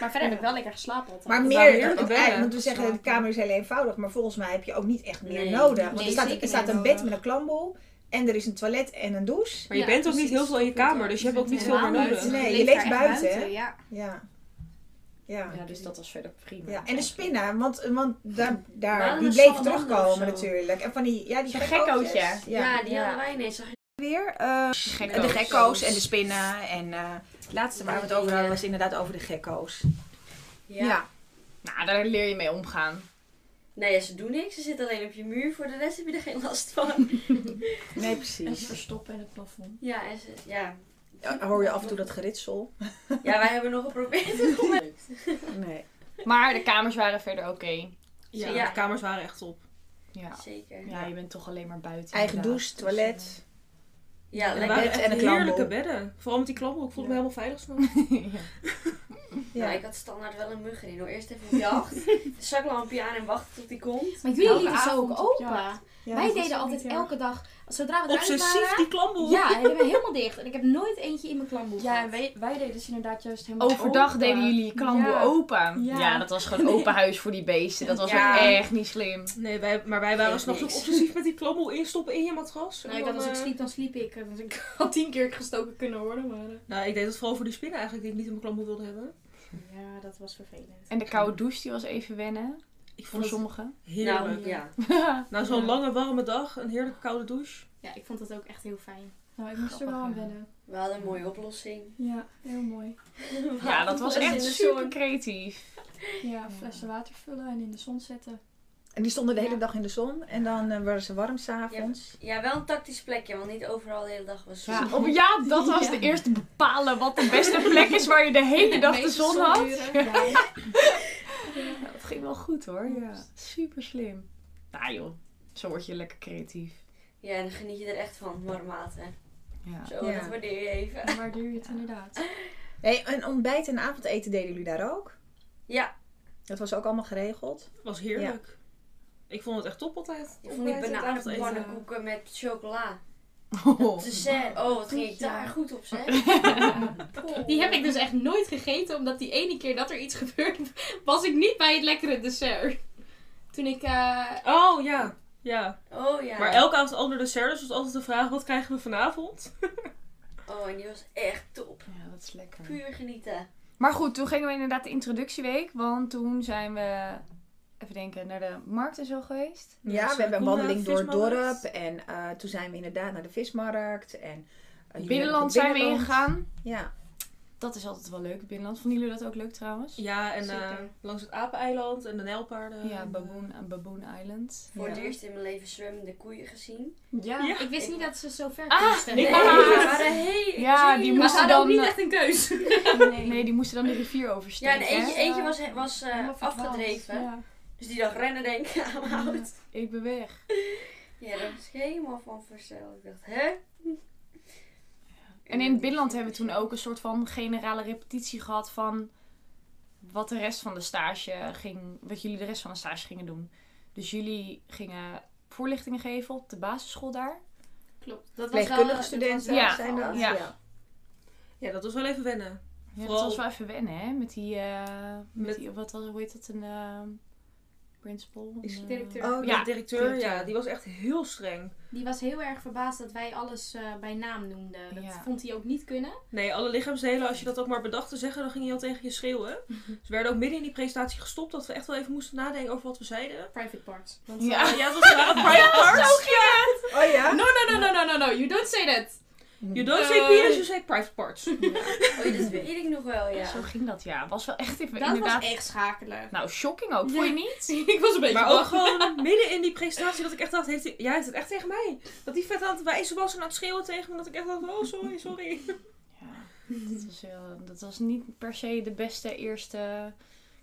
D: Maar verder heb ik wel lekker geslapen altijd.
A: Maar
B: is
A: meer,
B: wel heerlijk,
A: want
B: hè?
A: eigenlijk moeten we dus zeggen, de kamer is heel eenvoudig. Maar volgens mij heb je ook niet echt meer
F: Nee.
A: nodig. Want
D: Nee,
A: er staat,
D: zeker
A: er staat
D: niet
A: een bed
D: nodig.
A: met een klamboe. En er is een toilet en een douche.
B: Maar je
D: Ja,
B: bent ook niet
D: precies.
B: heel veel in je kamer, dus je hebt ook niet veel meer
D: Helemaal
B: nodig.
D: niet.
A: Nee, je
D: leeft
A: leeft
D: daar echt
A: buiten, hè?
D: Ja.
A: Ja. Ja.
C: Ja, dus dat was verder prima.
A: Ja, en de spinnen, want, want daar,
F: Waren
A: daar,
F: er
A: die bleven
F: salamanders
A: terugkomen
F: of zo?
A: natuurlijk. En van die, ja, die
C: Zo'n
A: gekkootjes.
C: gekkootje.
A: Ja.
F: Ja, die
C: Ja.
F: hadden wij ineens. Zag je
A: Weer eh,
C: Gekko's.
A: de gekko's en de spinnen. En eh, het laatste waar we het over hadden was inderdaad over de gekko's. Ja.
C: Nou, daar leer je mee omgaan.
F: Nee, ja, ze doen niks. Ze zitten alleen op je muur. Voor de rest heb je er geen last van.
A: nee
E: En
A: precies.
E: verstoppen in het plafond.
F: Ja, en ze, ja.
A: Ja, Hoor je af en toe dat geritsel?
F: ja wij hebben nog geprobeerd. Het kon niet.
A: Nee.
C: Maar de kamers waren verder oké.
F: Ja.
B: de kamers waren echt op.
C: Ja.
F: Zeker.
C: ja, je bent toch alleen maar buiten.
A: Eigen
C: inderdaad.
A: douche, toilet.
F: Ja,
B: En
A: Lekker.
B: er
F: lekker.
B: waren
A: Bed
B: echt
A: en een klamboe.
B: heerlijke bedden. Vooral met die klamboe, ik voelde me helemaal veilig. s'nachts.
C: Ja.
F: Ja,
A: Ja.
F: Nou, ik had standaard wel een mug erin hoor. Eerst even op jacht. Zaklampje aan en wachten tot die komt.
D: Maar jullie
E: Elke
D: lieten ze ook
E: avond op
D: open.
E: jacht.
A: Ja.
D: Wij deden altijd elke dag, zodra we eruit
B: Obsessief
D: waren...
B: die klamboe.
D: Ja, en die hebben we helemaal dicht. En ik heb nooit eentje in mijn klamboe
E: Ja, en
D: gehad.
E: wij, wij deden dus inderdaad juist helemaal
C: Overdag
E: open.
C: deden jullie je klamboe
E: Ja.
C: open. Ja.
E: Ja.
C: dat was gewoon open huis voor die beesten. Dat was
F: Ja.
C: ook echt niet slim.
B: Nee, wij, maar wij waren
F: Geeft
B: s'nachts ook
F: niks.
B: obsessief met die klamboe instoppen in je matras. En
D: Nou, ik
B: dan,
D: had, als ik
B: eh,
D: sliep, dan sliep ik. Dus ik had tien keer gestoken kunnen worden, maar... eh,
B: Nou, ik deed dat vooral voor die spinnen eigenlijk, die ik niet in mijn klamboe wilde hebben.
D: Ja, dat was vervelend.
C: En de koude douche die was even wennen.
B: Ik vond
C: Voor
B: het
C: sommigen.
B: heerlijk.
F: Nou, ja.
B: Na zo'n
D: Ja.
B: lange, warme dag, een heerlijke koude douche.
D: Ja, ik vond dat ook echt heel fijn.
E: Nou, ik moest er wel aan wennen.
F: We hadden een mooie oplossing.
E: Ja, heel mooi.
C: Ja, dat was
F: in
C: echt
F: de zon.
C: super creatief.
E: Ja, flessen water vullen en in de zon zetten.
A: En die stonden de hele dag in de zon. En dan eh, waren ze warm s'avonds.
F: Ja, wel een tactisch plekje, want niet overal de hele dag was zon.
C: Ja, Dus ja dat was de eerste bepalen wat de beste plek is waar je de hele dag de
E: meeste
C: zon had.
E: zonuren. Ja.
C: Ja, dat ging wel goed hoor. Ja. Super slim. Nou joh, zo word je lekker creatief.
F: Ja, en dan geniet je er echt van, warm water.
C: Ja.
F: Zo,
A: Ja.
F: dat waardeer je even.
E: Waar duur je het inderdaad?
A: Hey, en ontbijt en avondeten deden jullie daar ook?
F: Ja,
A: Dat was ook allemaal geregeld.
B: Het was heerlijk. Ik vond het echt top altijd. eh,
F: ik vond die
B: Ontbijt en avondeten.
F: bananenpannenkoeken met chocola.
C: Oh.
F: Dessert. Oh, wat ging ik
E: Ja.
F: daar goed op, zeg.
E: Die heb ik dus echt nooit gegeten, omdat die ene keer dat er iets gebeurde, was ik niet bij het lekkere dessert. Toen ik... eh,
B: Oh ja. Ja.
F: Oh ja.
B: Maar elke avond ander dessert, dus was altijd de vraag: wat krijgen we vanavond?
F: Oh, en die was echt top.
C: Ja, dat is lekker.
F: Puur genieten.
C: Maar goed, toen gingen we inderdaad de introductieweek. Want toen zijn we, even denken, naar de markt en zo geweest.
B: Ja,
A: Ja,
B: dus
A: we hebben een
B: Koenra,
A: wandeling door het
B: vismarkt.
A: dorp. En eh, toen zijn we inderdaad naar de vismarkt. En, eh, jullie
C: Binnenland
A: hebben
C: zijn
A: het
C: we
A: binnenland.
C: ingegaan.
A: Ja.
C: Dat is altijd wel leuk, binnenland. Vonden jullie dat ook leuk trouwens?
B: Ja, en eh,
E: Zeker.
B: langs het apeneiland en de nijlpaarden.
C: Ja,
B: En, eh,
C: Baboon, eh, Baboon Island.
F: Voor het
A: Ja.
F: eerst in mijn leven zwemmende koeien gezien.
C: Ja.
B: Ja.
E: Ik wist niet dat ze zo ver
C: Ah,
E: konden stellen.
B: ik-
F: Nee,
B: Ja.
F: die waren heel...
C: Ja,
E: Maar ze
C: die moesten
E: hadden ook
C: dan... eh,
E: niet echt een keus.
C: Nee. die moesten dan de rivier
F: Ja,
C: oversteken.
F: en eentje,
C: hè?
F: eentje was, was eh,
E: Helemaal verdwaald.
F: afgedreven.
C: Ja.
F: Dus die dacht rennen, denk ik, aan mijn hout.
C: Ik ben weg.
F: Ja, daar was ik helemaal van versteld. Ik dacht, hè?
C: En in het binnenland hebben we toen ook een soort van generale repetitie gehad van wat de rest van de stage ging, wat jullie de rest van de stage gingen doen. Dus jullie gingen voorlichtingen geven op de basisschool daar.
E: Klopt. Dat was wel...
D: eh,
A: Verpleegkundige studenten
C: Ja.
A: zijn dat.
C: Ja.
B: Ja, dat was wel even wennen.
C: Ja, dat
B: Vooral-
C: was wel even wennen, hè? Met die, eh, met,
B: Met-
C: die wat was, hoe heet dat, een eh, principal? Een, eh,
E: Directeur.
A: Oh,
B: Ja,
C: Ja,
B: de directeur,
C: directeur.
B: ja, die was echt heel streng.
D: Die was heel erg verbaasd dat wij alles eh, bij naam noemden. Dat
C: Ja.
D: vond hij ook niet kunnen.
B: Nee, alle lichaamsdelen, als je dat ook maar bedacht te zeggen, dan ging hij al tegen je schreeuwen. Dus we werden ook midden in die presentatie gestopt dat we echt wel even moesten nadenken over wat we zeiden.
D: Private parts.
B: Want,
C: Ja.
B: ja, ja, het was waren private parts.
A: Oh ja?
E: eh, No, no, no, no, no, no, no. You don't say that.
B: You don't say penis, you say private parts.
F: Oh, dat weet ik nog wel, ja.
C: eh, Zo ging dat, ja. Was wel echt even,
D: Dat
C: inderdaad.
D: was echt schakelen.
C: Nou, shocking ook, vond je niet?
E: ik was een beetje
B: Maar ook
E: bang.
B: gewoon midden in die presentatie dat ik echt dacht, heeft hij, ja, heeft het echt tegen mij? Dat die vet aan het wijzen was en aan het schreeuwen tegen me, dat ik echt dacht, oh sorry, sorry.
C: Ja, dat was, heel- dat was niet per se de beste eerste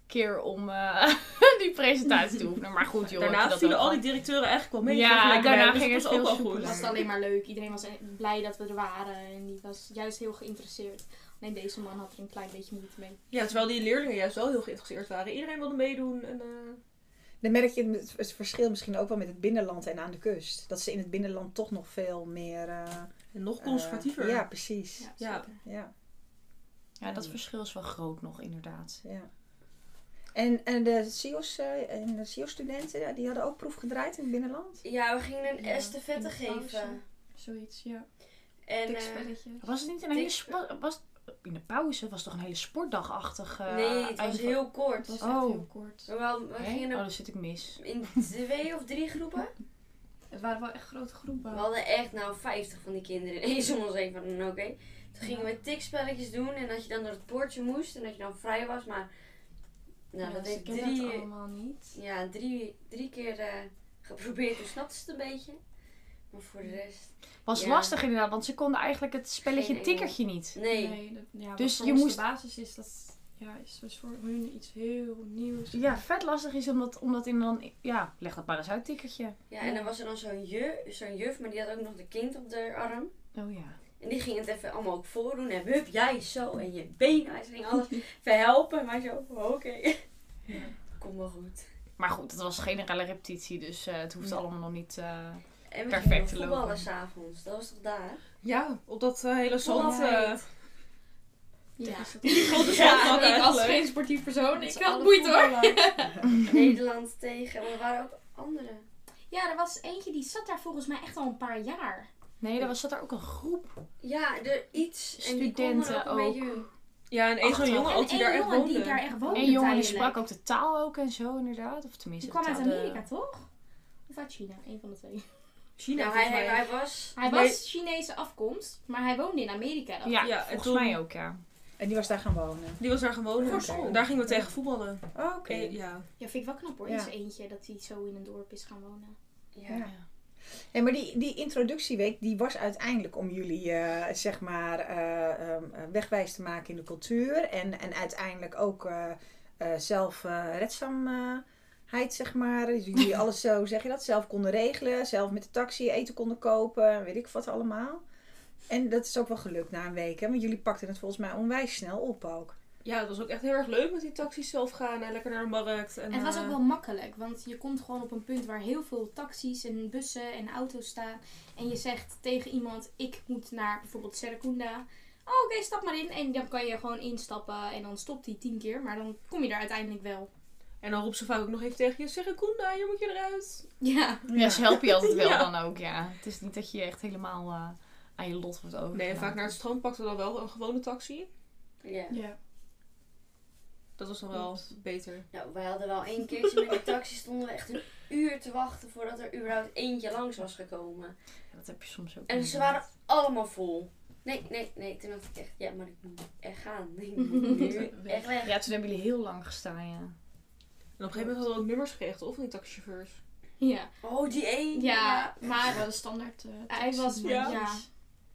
C: keer om eh, die presentatie te oefenen. Maar goed, joh. heb je
B: Daarna
C: dat
B: vielen
C: ook
B: al die
C: gehad.
B: directeuren eigenlijk wel mee.
C: Ja,
B: Gingen lekker
C: daarna
B: rijden,
C: ging
B: dus
C: het
B: was
C: heel
B: ook wel
C: soepel.
B: goed.
D: Was het alleen maar leuk. Iedereen was e- blij dat we er waren. En die was juist heel geïnteresseerd. Alleen deze man had er een klein beetje moeite mee.
B: Ja, terwijl die leerlingen juist wel heel geïnteresseerd waren. Iedereen wilde meedoen. En, eh,
A: Dan merk je het- het verschil misschien ook wel met het binnenland en aan de kust. Dat ze in het binnenland toch nog veel meer... eh,
B: en nog conservatiever.
A: eh, ja, precies. Ja.
D: Ja,
B: Ja.
D: zeker.
C: Ja, dat verschil is wel groot nog, inderdaad.
A: Ja. En, en de CIO's, eh, en de CIO-studenten, ja, die hadden ook proef gedraaid in het binnenland?
F: Ja, we gingen een
E: Ja, in
F: estafette
E: de pauze.
F: geven.
E: Zoiets, ja.
F: En, eh,
E: Dikspelletjes.
C: Was het niet een hele...
F: Ik-
C: spo- Was, in de pauze was toch een hele sportdagachtig... eh,
F: nee, het was
C: eind-
F: heel kort.
E: Het was
C: Oh.
E: echt heel kort.
F: Maar wel, we
C: Hè?
F: gingen
C: Oh,
F: er
C: daar zit ik mis.
F: in twee of drie groepen.
E: Het waren wel echt grote
F: We
E: groepen.
F: hadden echt nou 50 van die kinderen ineens om ons heen van oké. Toen gingen we tikspelletjes doen en dat je dan door het poortje moest en dat je dan vrij was. Maar nou, dat
E: ze
F: heeft
E: kennen het
F: drie,
E: allemaal niet.
F: ja, drie, drie keer eh, geprobeerd. Toen snapte ze het een beetje. Maar voor de rest,
C: Was
F: Ja.
C: lastig inderdaad, want ze konden eigenlijk het spelletje
F: Geen idee.
C: tikkertje niet.
F: nee.
E: dat, ja, wat
C: Dus
E: voor
C: je
E: ons
C: moest-
E: de basis is dat ja, is dus voor hun iets heel nieuws.
C: Ja, vet lastig is omdat, omdat in dan... Ja, leg dat maar eens uit, tikkertje.
F: Ja, en dan was er dan zo'n juf, zo'n juf, maar die had ook nog de kind op de arm.
C: Oh ja.
F: En die ging het even allemaal ook voordoen. En hup, jij zo. En je benen. Hij ging alles verhelpen. Maar zo, oké. Kom wel goed.
C: Maar goed, het was generele repetitie, dus eh, het hoeft
A: Ja.
C: allemaal nog niet... eh,
F: En we
C: Perfect te
F: gingen nog
C: lopen.
F: voetballen s'avonds. Dat was toch daar?
B: Ja, op dat eh, hele zand. eh,
F: Altijd.
E: Ja.
B: grote
E: Ja,
B: zandbak
E: ik als
B: eigenlijk.
E: geen sportief persoon,
F: Met
E: ik
F: z'n
E: had
F: allen
E: moeite hoor.
F: voetballen. Nederland tegen. Maar er waren ook anderen.
D: Ja, er was eentje die zat daar volgens mij echt al een paar jaar.
C: Nee, er was zat er ook een groep.
F: Ja, er iets. En die konden
C: Studenten
F: ook een
C: ook.
F: beetje hun-
B: Ja, en één zo'n jongen
D: en
B: ook die
D: één
B: daar echt
D: jongen die
B: woonde.
D: daar echt woonde.
C: Een jongen die
D: tijdelijk.
C: sprak ook de taal ook en zo inderdaad. Of tenminste.
D: Die kwam
C: de
D: uit
C: taal- de-
D: Amerika, toch? Of uit China, een van de twee.
B: China,
F: Nou, hij,
B: volgens mij.
F: hij, hij was...
D: Hij
B: Nee.
D: was Chinese afkomst, maar hij woonde in Amerika. dacht ik.
C: Ja,
B: Ja, en
C: volgens
B: toen-
C: mij ook, ja.
A: En die was daar gaan wonen?
B: Die was daar gewoon.
A: Voor school.
B: Daar gingen we tegen voetballen.
A: Oh, oké.
B: Eh, Ja.
D: Ja, vind ik wel knap hoor,
A: Ja.
D: in zijn eentje, dat hij zo in een dorp is gaan wonen.
F: Ja.
A: Ja. Nee, maar die, die introductieweek die was uiteindelijk om jullie eh, zeg maar, eh, ehm, eh, wegwijs te maken in de cultuur. En, en uiteindelijk ook eh, eh, zelf eh, redzaamheid, zeg maar. Dus jullie alles zo, zeg je dat, zelf konden regelen. Zelf met de taxi eten konden kopen, weet ik wat allemaal. En dat is ook wel gelukt na een week, hè? Want jullie pakten het volgens mij onwijs snel op ook.
B: Ja, het was ook echt heel erg leuk met die taxis zelf gaan en lekker naar de markt. En,
D: En het was
B: eh,
D: ook wel makkelijk, want je komt gewoon op een punt waar heel veel taxis en bussen en auto's staan. En je zegt tegen iemand, ik moet naar bijvoorbeeld Serracunda. Oh, oké, stap maar in. En dan kan je gewoon instappen en dan stopt hij tien keer. Maar dan kom je daar uiteindelijk wel.
B: En dan roept ze vaak ook nog even tegen je, zeg ik Koenda, hier moet je eruit.
D: Ja.
A: Ja.
G: Ja, ze helpen je altijd wel
B: Ja.
G: dan ook, ja. Het is niet dat je echt helemaal eh, aan je lot wordt overgelaten.
B: Nee, en vaak naar het strand pakten we dan wel een gewone taxi.
F: Ja.
D: ja.
B: Dat was dan wel beter.
F: Nou, wij hadden wel één keertje met de taxi stonden we echt een uur te wachten voordat er überhaupt eentje langs was gekomen.
G: Ja, Dat heb je soms ook.
F: En ze
G: inderdaad.
F: waren allemaal vol. Nee, nee, nee. Toen dacht ik echt, ja, maar ik moet echt gaan. Nee, ik moet nu echt weg.
G: Ja, toen hebben jullie heel lang gestaan, ja.
B: En op een gegeven moment hadden we ook nummers gekregen, of van die taxichauffeurs.
D: Ja,
F: Oh, die één.
D: maar
G: de standaard.
D: hij was...
B: Ja.
D: Ja.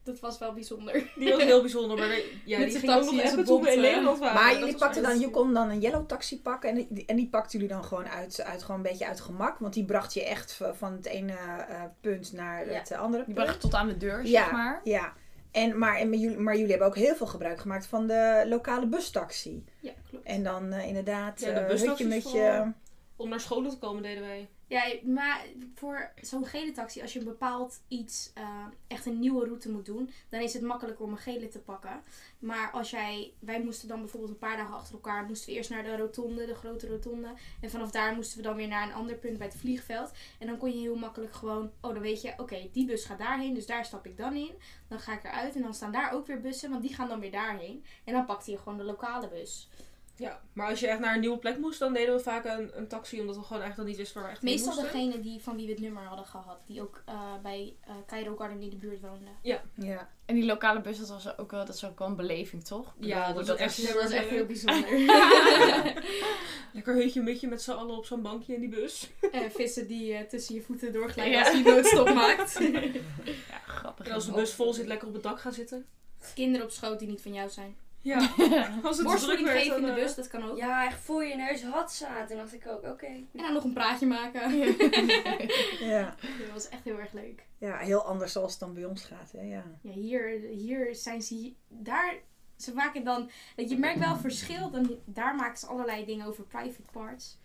D: dat was wel bijzonder.
B: Die was heel bijzonder, maar de- ja,
C: Met
B: die
C: de
B: ging ook
C: taxi
B: nog
C: en
B: even
C: zijn
B: toen we in
C: bonten.
B: Nederland waren.
A: maar
B: Dat
A: jullie
B: was
A: pakten
B: echt-
A: dan, je kon dan een yellow taxi pakken. En die, en die pakten jullie dan gewoon uit, uit gewoon een beetje uit gemak. Want die bracht je echt v- van het ene eh, punt naar
F: Ja.
A: het eh, andere
G: Die
A: punt.
G: bracht tot aan de deur,
A: Ja.
G: zeg maar.
A: Ja. En, maar, en, maar jullie, maar jullie hebben ook heel veel gebruik gemaakt van de lokale bustaxi.
D: Ja, klopt.
A: En dan eh, inderdaad,
B: Ja, de
A: eh,
B: bustaxi
A: hutje
B: is
A: met
B: voor-
A: je...
B: Om naar scholen te komen deden wij.
D: Ja, maar voor zo'n gele taxi, als je een bepaald iets, eh, echt een nieuwe route moet doen, dan is het makkelijker om een gele te pakken. Maar als jij, wij moesten dan bijvoorbeeld een paar dagen achter elkaar, moesten we eerst naar de rotonde, de grote rotonde. En vanaf daar moesten we dan weer naar een ander punt bij het vliegveld. En dan kon je heel makkelijk gewoon, oh dan weet je, oké, die bus gaat daarheen, dus daar stap ik dan in. Dan ga ik eruit en dan staan daar ook weer bussen, want die gaan dan weer daarheen. En dan pakte je gewoon de lokale bus.
B: Ja, maar als je echt naar een nieuwe plek moest, dan deden we vaak een, een taxi, omdat we gewoon eigenlijk niet wisten waar we echt heen
D: Meestal
B: moesten.
D: degene die, van wie we het nummer hadden gehad, die ook eh, bij eh Cairo Garden in de buurt woonde.
A: Ja.
G: En die lokale bus, dat was ook wel, dat is ook wel een beleving, toch? Ik
B: Ja,
G: bedoel,
B: dat,
G: is-
B: was echt,
E: Dat was echt heel bijzonder.
B: Lekker hutje mutje met z'n allen op zo'n bankje in die bus.
D: Eh, vissen die eh, tussen je voeten doorglijden
G: Ja.
D: als je noodstop maakt.
G: Ja, grappig.
B: En als de bus vol zit, lekker op het dak gaan zitten.
D: Kinderen op schoot die niet van jou zijn.
B: Ja, als het te druk
D: Borstvoeding
B: werd,
D: geven in de
B: dan, eh,
D: bus, dat kan ook.
F: Ja, echt voor je neus had zaten. Toen dacht ik ook, oké.
D: En dan nog een praatje maken.
A: Ja.
D: dat was echt heel erg leuk.
A: ja, heel anders zoals het dan bij ons gaat. Hè? Ja.
D: Ja, hier, hier zijn ze... hi- Daar, ze maken dan... dat Je merkt wel verschil. Dan, daar maken ze allerlei dingen over private parts.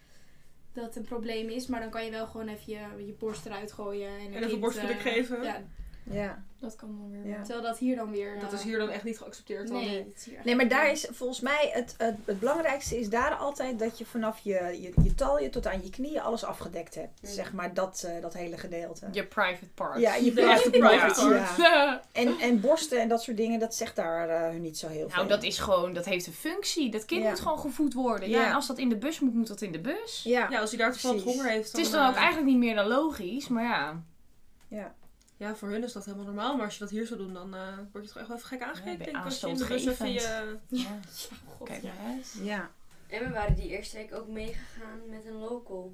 D: Dat een probleem is. Maar dan kan je wel gewoon even je, je borst eruit gooien. En, een
B: even
D: kind,
B: borstvoeding
D: eh,
B: geven.
D: Ja,
A: Ja.
G: Dat kan dan weer.
A: Ja.
D: terwijl dat hier dan weer...
B: Dat
D: eh,
B: is hier dan echt niet geaccepteerd. dan.
D: Nee, dat is hier echt
A: Nee, maar
D: niet.
A: daar is volgens mij het, het, het belangrijkste is daar altijd dat je vanaf je, je, je talje tot aan je knieën alles afgedekt hebt.
F: Mm.
A: Zeg maar dat, eh, dat hele gedeelte.
G: Je private part.
A: Ja, je
B: De echte private
A: Ja.
B: part.
A: En, en borsten en dat soort dingen, dat zegt daar eh, hun niet zo heel veel.
G: Nou, dat is gewoon, dat heeft een functie. Dat kind
A: Ja.
G: moet gewoon gevoed worden. Ja.
A: Ja.
G: en als dat in de bus moet, moet dat in de bus.
A: Ja.
B: Ja, als hij daar toevallig
A: Precies.
B: honger heeft.
G: Het is dan ook
B: eh,
G: eigenlijk niet meer dan logisch, maar ja.
B: Ja, voor hun is dat helemaal normaal. Maar als je dat hier zou doen, dan eh, word je toch echt wel even gek
G: ben
B: aangekeken. denk
G: je
B: ik, als je in de bus even
G: aanstootgevend.
B: je...
G: ja.
D: God,
G: Kijk
D: ja.
G: maar uit.
A: ja.
F: En we waren die eerste week ook meegegaan met een local.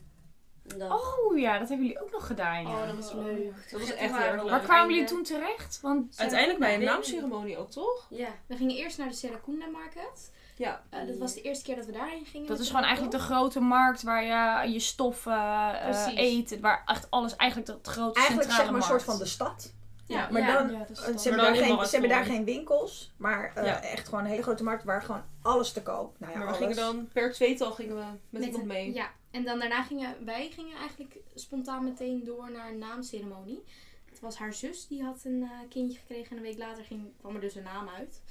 F: Een dag.
G: Oh ja, dat hebben jullie ook nog gedaan. Ja.
D: Oh, dat was leuk.
B: Dat was
F: Toen
B: echt
F: waren
B: heel
F: we
B: erg
F: op
G: Waar
B: leuk.
G: kwamen jullie
F: einde-
G: toen terecht? Want
B: Uiteindelijk bij een
F: Nee.
B: naamceremonie ook, toch?
F: Ja.
D: We gingen eerst naar de Serracunda Market.
B: Ja.
D: Eh, dat was de eerste keer dat we daarheen gingen.
G: dat
D: met
G: is
D: de
G: gewoon
D: auto.
G: eigenlijk de grote markt waar je je stoffen, eh,
E: Precies.
G: eten, waar echt alles eigenlijk het grote
A: Eigenlijk zeg
G: centrale
A: maar een soort van de
G: markt.
A: stad.
F: Ja,
A: maar
F: ja.
A: dan,
G: Ja, dat is
A: ze,
G: dan-
A: hebben
B: dan
A: daar
B: helemaal
A: geen,
B: wat
A: ze hebben daar
B: voor.
A: geen winkels, maar eh,
B: Ja.
A: echt gewoon een hele grote markt waar gewoon alles te koop. Nou ja,
B: maar we
A: alles.
B: gingen dan per tweetal gingen we met, iemand
D: een-
B: mee.
D: Ja, en dan daarna gingen wij gingen eigenlijk spontaan meteen door naar een naamceremonie. Het was haar zus, die had een eh, kindje gekregen en een week later ging, kwam er dus een naam uit.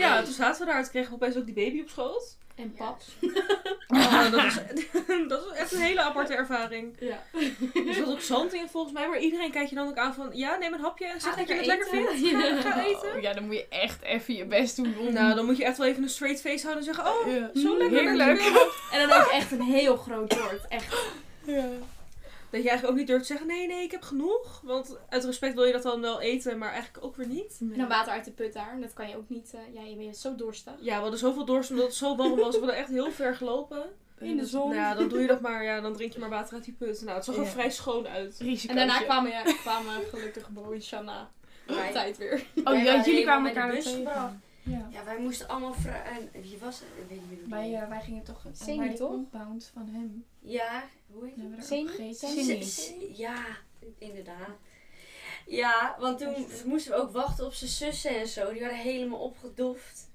B: Ja. toen zaten we daar. Toen kregen we opeens ook die baby op schoot.
D: En pap.
B: Oh, dat, was, dat was echt een hele aparte ervaring.
D: Ja.
B: Er zat ook zand in volgens mij. Maar iedereen kijkt je dan ook aan van... Ja, neem een hapje en zeg
D: Ga
B: dat je het
D: lekker
B: lekker vindt. Ga, ga eten.
G: Oh, ja, dan moet je echt even je best doen om...
B: Nou, dan moet je echt wel even een straight face houden en zeggen... Oh,
G: Ja.
B: zo lekker.
G: Heerlijk.
B: dankjewel.
D: En dan ook echt een heel groot woord. Echt.
B: Dat je eigenlijk ook niet durft te zeggen... Nee, nee, ik heb genoeg. Want uit respect wil je dat dan wel eten, maar eigenlijk ook weer niet.
D: En dan water uit de put daar. En dat kan je ook niet. eh, ja, je bent zo dorstig.
B: Ja, we hadden zoveel dorst omdat het zo warm was. We hadden echt heel ver gelopen.
D: In de zon.
B: Nou ja, dan doe je dat maar. Ja, dan drink je maar water uit die put. Nou, het zag er
A: Ja.
B: vrij schoon uit.
G: Risicootje.
D: En daarna kwamen, ja, kwamen gelukkig Bo en Shanna op tijd weer.
G: Oh
F: Wij
G: ja,
F: waren
G: jullie
F: helemaal
G: kwamen
F: bij de
G: elkaar
F: bus
G: tegen.
F: gebracht.
H: Ja.
F: Ja, wij moesten allemaal vragen. Wie was het? Ik weet niet meer.
H: Wij, eh, wij gingen toch eh,
D: Cindy,
H: bij de
D: toch?
H: compound van hem.
F: Ja, hoe heet
H: En hebben we daar
D: Cindy?
H: ook gegeten.
D: Cindy.
F: Z- z- Ja, inderdaad. Ja, want toen moesten we ook wachten op zijn zussen en zo. Die waren helemaal opgedoft.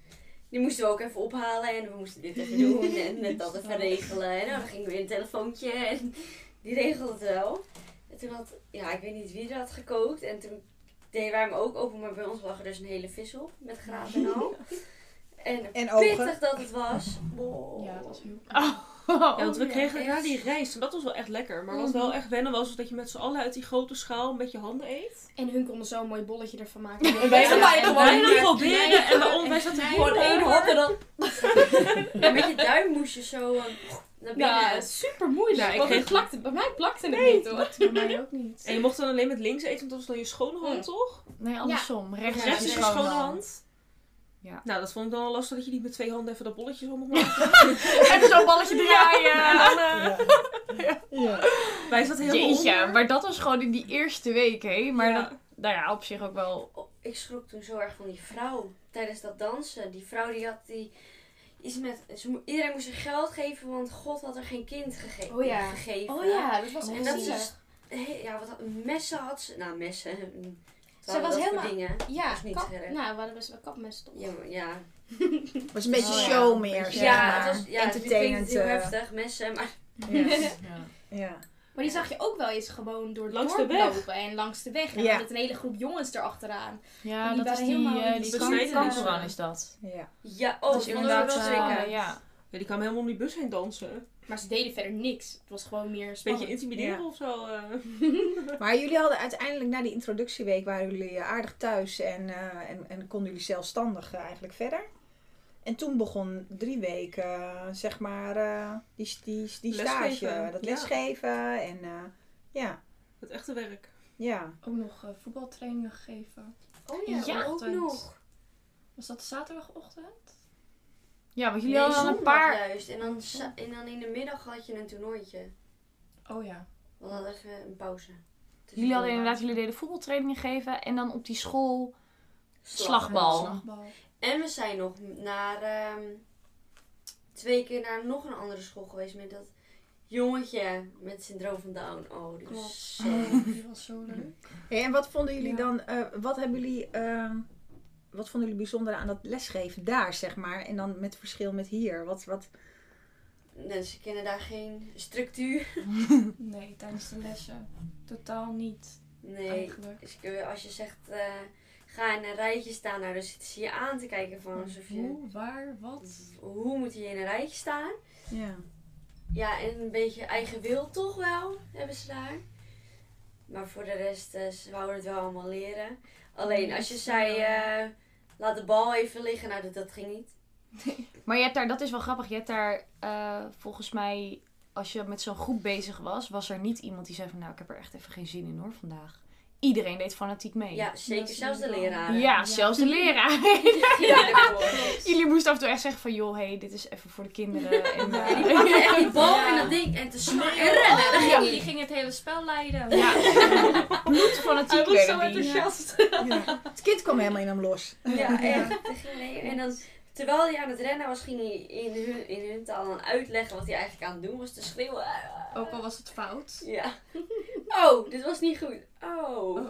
F: Die moesten we ook even ophalen en we moesten dit even doen en net dat even regelen. En nou, dan ging weer een telefoontje en die regelde het wel. En toen had, ja, ik weet niet wie er had gekookt. En toen deden wij hem ook open, maar bij ons lag er dus een hele vis op met graven en al. En
A: En ogen.
F: pittig dat het was. Wow.
H: Ja, dat was heel
G: Oh.
B: Oh, Ja, Mhm. want we kregen
F: echt.
B: daarna die rijst en dat was wel echt lekker. Maar wat wel echt wennen was, was dat je met z'n allen uit die grote schaal met je handen eet.
D: En hun konden zo'n mooi bolletje ervan maken.
B: En wij
D: Ja,
B: dan-
D: en
B: en
D: wij
B: wij dan
D: dan-
B: proberen en wij, wij zaten gewoon één hap en dan...
F: En met je duim moest je zo eh, naar binnen.
D: Ja, Dus super moeilijk.
B: Ja, ik
D: want
B: kreeg-
D: het plakte, bij mij plakte het niet hoor.
H: Dat bij mij ook niet.
B: En je mocht dan alleen met links eten, want dat was dan je schone hand,
D: Mm.
B: toch?
C: Nee, andersom. Rechts,
B: Rechts is je schone hand.
C: Ja.
B: Nou, dat vond ik dan al lastig dat je niet met twee handen even dat bolletje zo mocht maken.
C: Even zo'n balletje draaien. en dan, eh,
B: Wij zaten helemaal
C: Jeetje,
B: onder.
C: maar dat was gewoon in die eerste week, hè? Maar
B: Ja.
C: dat, nou ja, op zich ook wel.
F: Oh, ik schrok toen zo erg van die vrouw tijdens dat dansen. Die vrouw die had die iets met. Ze, mo- iedereen moest haar geld geven, want God had er geen kind gege
I: Oh ja.
F: gegeven.
D: Oh ja, dat was
F: En
D: echt
F: dat is
D: zielig.
F: dus. Hé, Ja, wat had- messen had ze. Nou, messen. mm,
D: Ze was
F: dat voor
D: helemaal-
F: dingen.
D: Ja,
F: is niet
D: kap-
F: scherp.
D: nou, we hadden best wel kapmes toch?
F: Ja, maar- ja.
A: was een beetje
F: Oh, ja.
A: show meer,
F: ja,
A: zeg maar.
F: het was ja, het
A: Entertainend.
F: klinkt heel
A: eh,
F: heftig, messen. Maar
A: ja.
C: Ja.
A: ja.
D: Maar die zag je ook wel eens gewoon door het
B: Langs
D: dorp
B: de weg.
D: lopen en langs de weg. En
A: Ja.
D: met een hele groep jongens erachteraan.
C: Ja,
D: Die
C: dat is
D: waren
C: die,
D: helemaal
C: eh,
D: in
C: die
B: die
C: kamp-
B: besneden.
C: kamperman is dat.
A: ja.
F: ja, oh,
C: Dat
F: dat
C: is
F: vonden we wel
C: eh,
F: zeker.
C: ja.
B: Ja, die kwam helemaal om die bus heen dansen.
D: Maar ze deden verder niks. Het was gewoon meer
B: Beetje
D: spannend.
B: intimideren of zo. eh.
A: Maar jullie hadden uiteindelijk na die introductieweek waren jullie eh, aardig thuis en, eh, en, en konden jullie zelfstandig eh, eigenlijk verder. En toen begon drie weken, eh, zeg maar, eh, die, die, die
B: Lesgeven,
A: stage, eh, dat
B: ja.
A: lesgeven. En eh, ja,
B: Het echte werk.
A: ja.
H: Ook nog eh, voetbaltrainingen gegeven.
F: Oh
D: ja,
F: ja, ook
H: ochtend.
F: nog.
H: Was dat zaterdagochtend?
C: ja, want jullie
F: Nee,
C: hadden al een
F: zondag
C: paar.
F: juist. En dan, za- en dan in de middag had je een toernooitje.
H: Oh ja.
F: We hadden even een pauze. Dus
C: Jullie hadden
F: we-
C: inderdaad, jullie deden voetbaltrainingen geven en dan op die school
F: Slag.
C: slagbal.
H: Slagbal.
F: En we zijn nog naar ehm, twee keer naar nog een andere school geweest met dat jongetje met syndroom van Down. Oh, die
H: Klopt.
F: was zo.
H: Oh, die was zo leuk.
A: Hey, en wat vonden jullie
H: Ja.
A: dan, eh, wat hebben jullie, eh, wat vonden jullie bijzonder aan dat lesgeven daar, zeg maar? En dan met verschil met hier? Wat, wat,
F: Mensen kennen Dus daar geen structuur.
H: Nee, tijdens de lessen. Totaal niet,
F: Nee.
H: eigenlijk.
F: Dus kun je- als je zegt eh, ga in een rijtje staan, nou dan zitten ze je aan te kijken van alsof je.
H: Hoe, waar, wat?
F: Hoe moet je in een rijtje staan?
A: ja.
F: Ja, en een beetje eigen wil toch wel hebben ze daar. Maar voor de rest, eh, ze wouden het wel allemaal leren. Alleen als je zei, eh, laat de bal even liggen, nou dat, dat ging niet.
C: Maar je hebt daar, dat is wel grappig, je hebt daar eh, volgens mij, als je met zo'n groep bezig was, was er niet iemand die zei van nou, ik heb er echt even geen zin in hoor vandaag. Iedereen deed fanatiek mee.
F: Ja, zeker.
H: Dat is
F: Zelfs de
H: wel-
F: leraren.
C: Ja, zelfs de leraar.
F: Ja,
C: Jullie moesten af en toe echt zeggen van, joh, hey, dit is even voor de kinderen. En,
F: en die
C: eh,
F: pakte echt die bal en dat ding en te slaan en rennen. Dat ging
D: Die
F: niet.
D: ging het hele spel leiden.
C: ja, bloedfanatiek werden die.
A: ja. Het kind kwam helemaal in hem los.
F: Ja, echt. Dat ging niet. En dan, terwijl hij aan het rennen was, ging hij in hun, in hun taal dan uitleggen wat hij eigenlijk aan het doen was. Te schreeuwen.
H: Ook
F: Oh,
H: al was het fout.
F: Ja. Oh, dit was niet goed. Oh.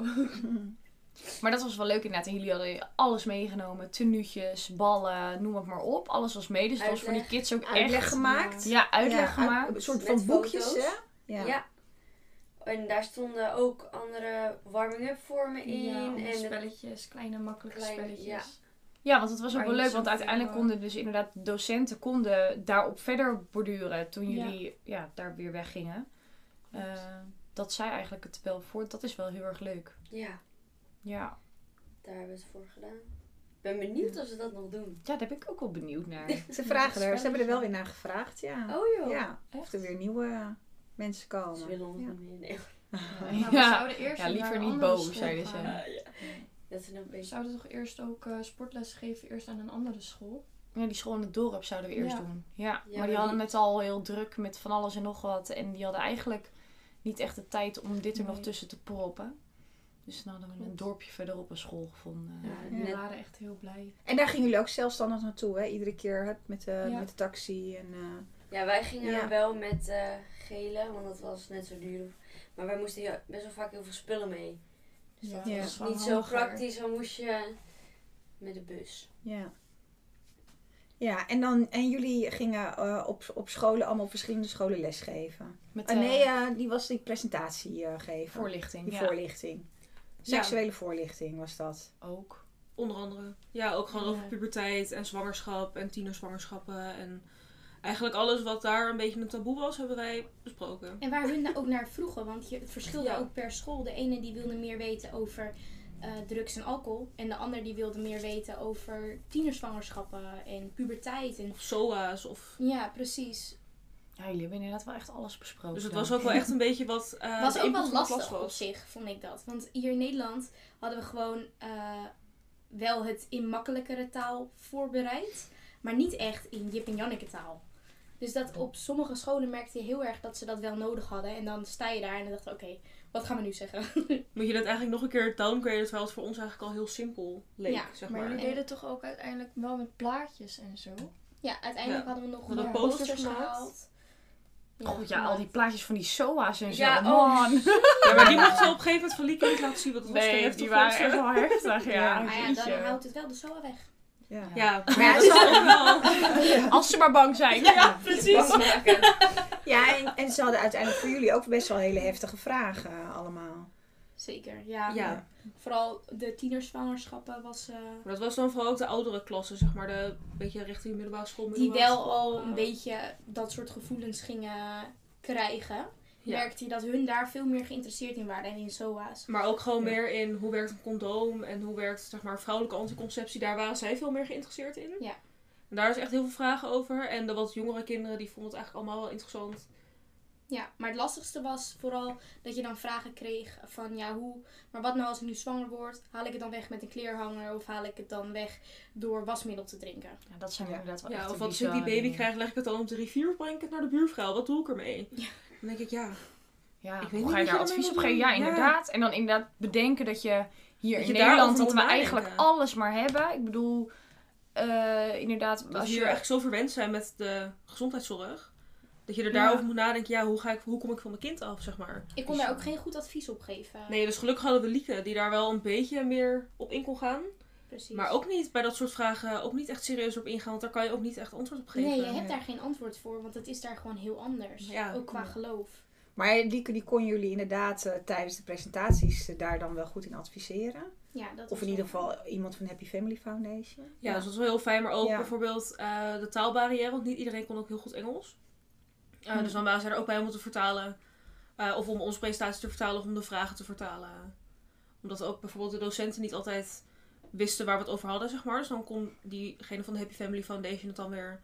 C: Maar dat was wel leuk inderdaad. En jullie hadden alles meegenomen. Tenuutjes, ballen, noem het maar op. Alles was mee. Dus het was voor die
F: Uitleg.
C: kids ook
A: Uitleg
C: echt...
A: gemaakt.
C: Ja, uitleg
A: Ja,
C: gemaakt.
A: Een soort
F: Met
A: van boekjes,
F: foto's.
A: hè?
F: Ja. En daar stonden ook andere warming-up vormen in.
H: Ja, allemaal
F: en het-
H: spelletjes. Kleine, makkelijke
F: Kleine-
H: spelletjes.
F: ja.
C: Ja, want het was ook
H: Maar
C: wel
H: niet
C: leuk. Want
H: zoveel,
C: uiteindelijk
H: hoor.
C: konden dus inderdaad docenten konden daarop verder borduren. Toen
H: Ja.
C: jullie ja. daar weer weggingen. Eh, dat zij eigenlijk het wel voor. Dat is wel heel erg leuk.
F: ja,
C: Ja.
F: daar hebben we het voor gedaan. Ik ben benieuwd of ze dat nog doen.
C: Ja, daar ben ik ook wel benieuwd naar.
A: Ze vragen er, ze hebben er wel weer naar gevraagd, ja.
F: Oh joh.
A: Ja, of
H: Echt?
A: er weer nieuwe mensen
F: Ze
A: komen.
F: willen ons
A: Ja.
F: niet meer. Nee.
H: Nou, we
C: Ja.
H: zouden eerst
C: Ja,
H: naar
C: liever
H: een
C: niet
H: andere
C: boos,
H: school
C: zeiden ze.
H: gaan.
F: Dat ze nog een
H: We
F: beetje...
H: zouden toch eerst ook eh, sportles geven eerst aan een andere school?
C: Ja, die school in het dorp zouden we eerst
H: Ja.
C: doen. Ja, maar
F: maar
C: die hadden
F: die-
C: het al heel druk met van alles en nog wat. En die hadden eigenlijk niet echt de tijd om dit er nog
H: Nee.
C: tussen te proppen. Dus dan hadden we een
H: Klopt.
C: dorpje verderop een school gevonden.
H: Ja,
F: Ja,
H: en we
F: net-
H: waren echt heel blij.
A: En daar gingen jullie ook zelfstandig naartoe, hè? Iedere keer hup, met, de,
H: Ja.
A: met de taxi. En, eh,
F: Ja, wij gingen
A: Ja.
F: wel met eh gele, want dat was net zo duur. Maar wij moesten hier best wel vaak heel veel spullen mee.
H: Dus dat
A: Ja.
H: was wel
F: Niet zo
H: handiger.
F: praktisch, dan moest je met de bus.
A: Ja. Ja, en, dan, en jullie gingen eh, op, op scholen, allemaal op verschillende scholen lesgeven.
G: Met
A: Ah,
G: eh,
A: nee, eh, die was die presentatie eh, geven.
G: voorlichting.
A: Die
G: Ja.
A: voorlichting. Seksuele voorlichting was dat.
G: Ook.
B: Onder andere. Ja, ook gewoon
H: Ja.
B: over puberteit en zwangerschap en tienerzwangerschappen. En eigenlijk alles wat daar een beetje een taboe was, hebben wij besproken.
D: En waar hun nou ook naar vroegen, want je, het verschilde
B: Ja.
D: ook per school. De ene die wilde meer weten over eh, drugs en alcohol. En de ander die wilde meer weten over tienerzwangerschappen en puberteit. En...
B: Of SOA's. Of...
D: Ja, precies.
G: Ja, jullie hebben inderdaad wel echt alles besproken.
B: Dus het was ook wel echt een beetje wat. eh,
D: was
B: de
D: ook
B: input
D: wel
B: van de klas
D: lastig op
B: was.
D: zich, vond ik dat. Want hier in Nederland hadden we gewoon eh, wel het in makkelijkere taal voorbereid. Maar niet echt in Jip en Janneke taal. Dus dat op sommige scholen merkte je heel erg dat ze dat wel nodig hadden. En dan sta je daar en dan dacht ik, oké, wat gaan we nu zeggen?
B: Moet je dat eigenlijk nog een keer downgraden, terwijl het voor ons eigenlijk al heel simpel leek,
D: Ja,
B: zeg
H: Maar
B: maar.
H: jullie deden toch ook uiteindelijk wel met plaatjes en zo?
D: Ja, uiteindelijk
B: Ja.
D: hadden we nog
B: We hadden
D: eh,
B: posters gemaakt.
D: gehaald.
G: Oh ja, al die plaatjes van die SOA's en zo.
F: Ja,
G: Man.
B: Ja, maar die mocht ze op een gegeven moment van Lieke niet laten zien, want het was te
G: Nee,
B: heftig
G: die
B: voor
G: waren
B: ze.
G: echt wel heftig, ja.
D: Maar Ah, ja,
G: Jeetje.
D: dan houdt het wel de SOA weg.
A: Ja.
B: Ja, maar
A: Ja,
B: dat is ook wel.
G: Als ze maar bang zijn. Ja.
F: Precies.
A: Ja, en, en ze hadden uiteindelijk voor jullie ook best wel hele heftige vragen allemaal.
D: Zeker, ja.
B: Ja,
D: Vooral de tienerzwangerschappen was... eh,
B: Maar dat was dan vooral ook de oudere klassen, zeg maar, de beetje richting middelbare school.
D: die
B: middelbare
D: wel
B: school,
D: al
B: eh,
D: een beetje dat soort gevoelens gingen krijgen.
B: Ja.
D: Merkte je dat hun daar veel meer geïnteresseerd in waren en in SOA's.
B: Maar ook gewoon
A: Ja.
B: meer in hoe werkt een condoom en hoe werkt zeg maar, vrouwelijke anticonceptie. Daar waren zij veel meer geïnteresseerd in.
D: Ja.
B: En daar is echt heel veel vragen over. En de wat jongere kinderen die vonden het eigenlijk allemaal wel interessant.
D: Ja, maar het lastigste was vooral dat je dan vragen kreeg van ja, hoe, maar wat nou als ik nu zwanger word? Haal ik het dan weg met een kleerhanger of haal ik het dan weg door wasmiddel te drinken?
G: dat zijn
A: Ja.
G: inderdaad wel echt
B: ja,
G: de
B: of als ik die
G: bizarre
B: baby
G: dingen.
B: krijg, leg ik het dan op de rivier of breng ik het naar de buurvrouw? Wat doe ik ermee? Dan denk ik, ja,
G: Ja,
B: Ik weet
G: hoe
B: niet
G: Oh, ga je
B: wat
G: daar
B: je ermee
G: advies op
B: moet
G: geven?
B: doen.
G: Ja,
B: Ja.
G: inderdaad. En dan inderdaad bedenken dat je hier in
B: Dat je
G: Nederland,
B: daarover
G: dat
B: moet
G: we eigenlijk
B: nadenken.
G: alles maar hebben. Ik bedoel, eh, inderdaad,
B: dat
G: als
B: we
G: je...
B: hier echt zo verwend zijn met de gezondheidszorg. Dat je er daarover moet nadenken, ja, hoe, ga ik, hoe kom ik van mijn kind af, zeg maar.
D: Ik kon daar ook geen goed advies op geven.
B: Nee, dus gelukkig hadden we Lieke, die daar wel een beetje meer op in kon gaan.
D: precies.
B: Maar ook niet bij dat soort vragen, ook niet echt serieus op ingaan, want daar kan je ook niet echt antwoord op geven.
D: Nee, je hebt daar geen antwoord voor, want het is daar gewoon heel anders.
B: Ja.
D: ook qua
B: Ja.
D: geloof.
A: Maar Lieke, die kon jullie inderdaad eh, tijdens de presentaties eh, daar dan wel goed in adviseren.
D: Ja, dat
A: Of
D: was
A: in ieder
D: wel-
A: geval iemand van Happy Family Foundation.
B: Ja, dus dat is wel heel fijn, maar ook
A: Ja.
B: bijvoorbeeld eh, de taalbarrière, want niet iedereen kon ook heel goed Engels. Eh, Dus dan waren zij er ook bij om het te vertalen, eh, of om onze presentatie te vertalen, of om de vragen te vertalen. Omdat ook bijvoorbeeld de docenten niet altijd wisten waar we het over hadden, zeg maar. Dus dan kon diegene van de Happy Family Foundation het dan weer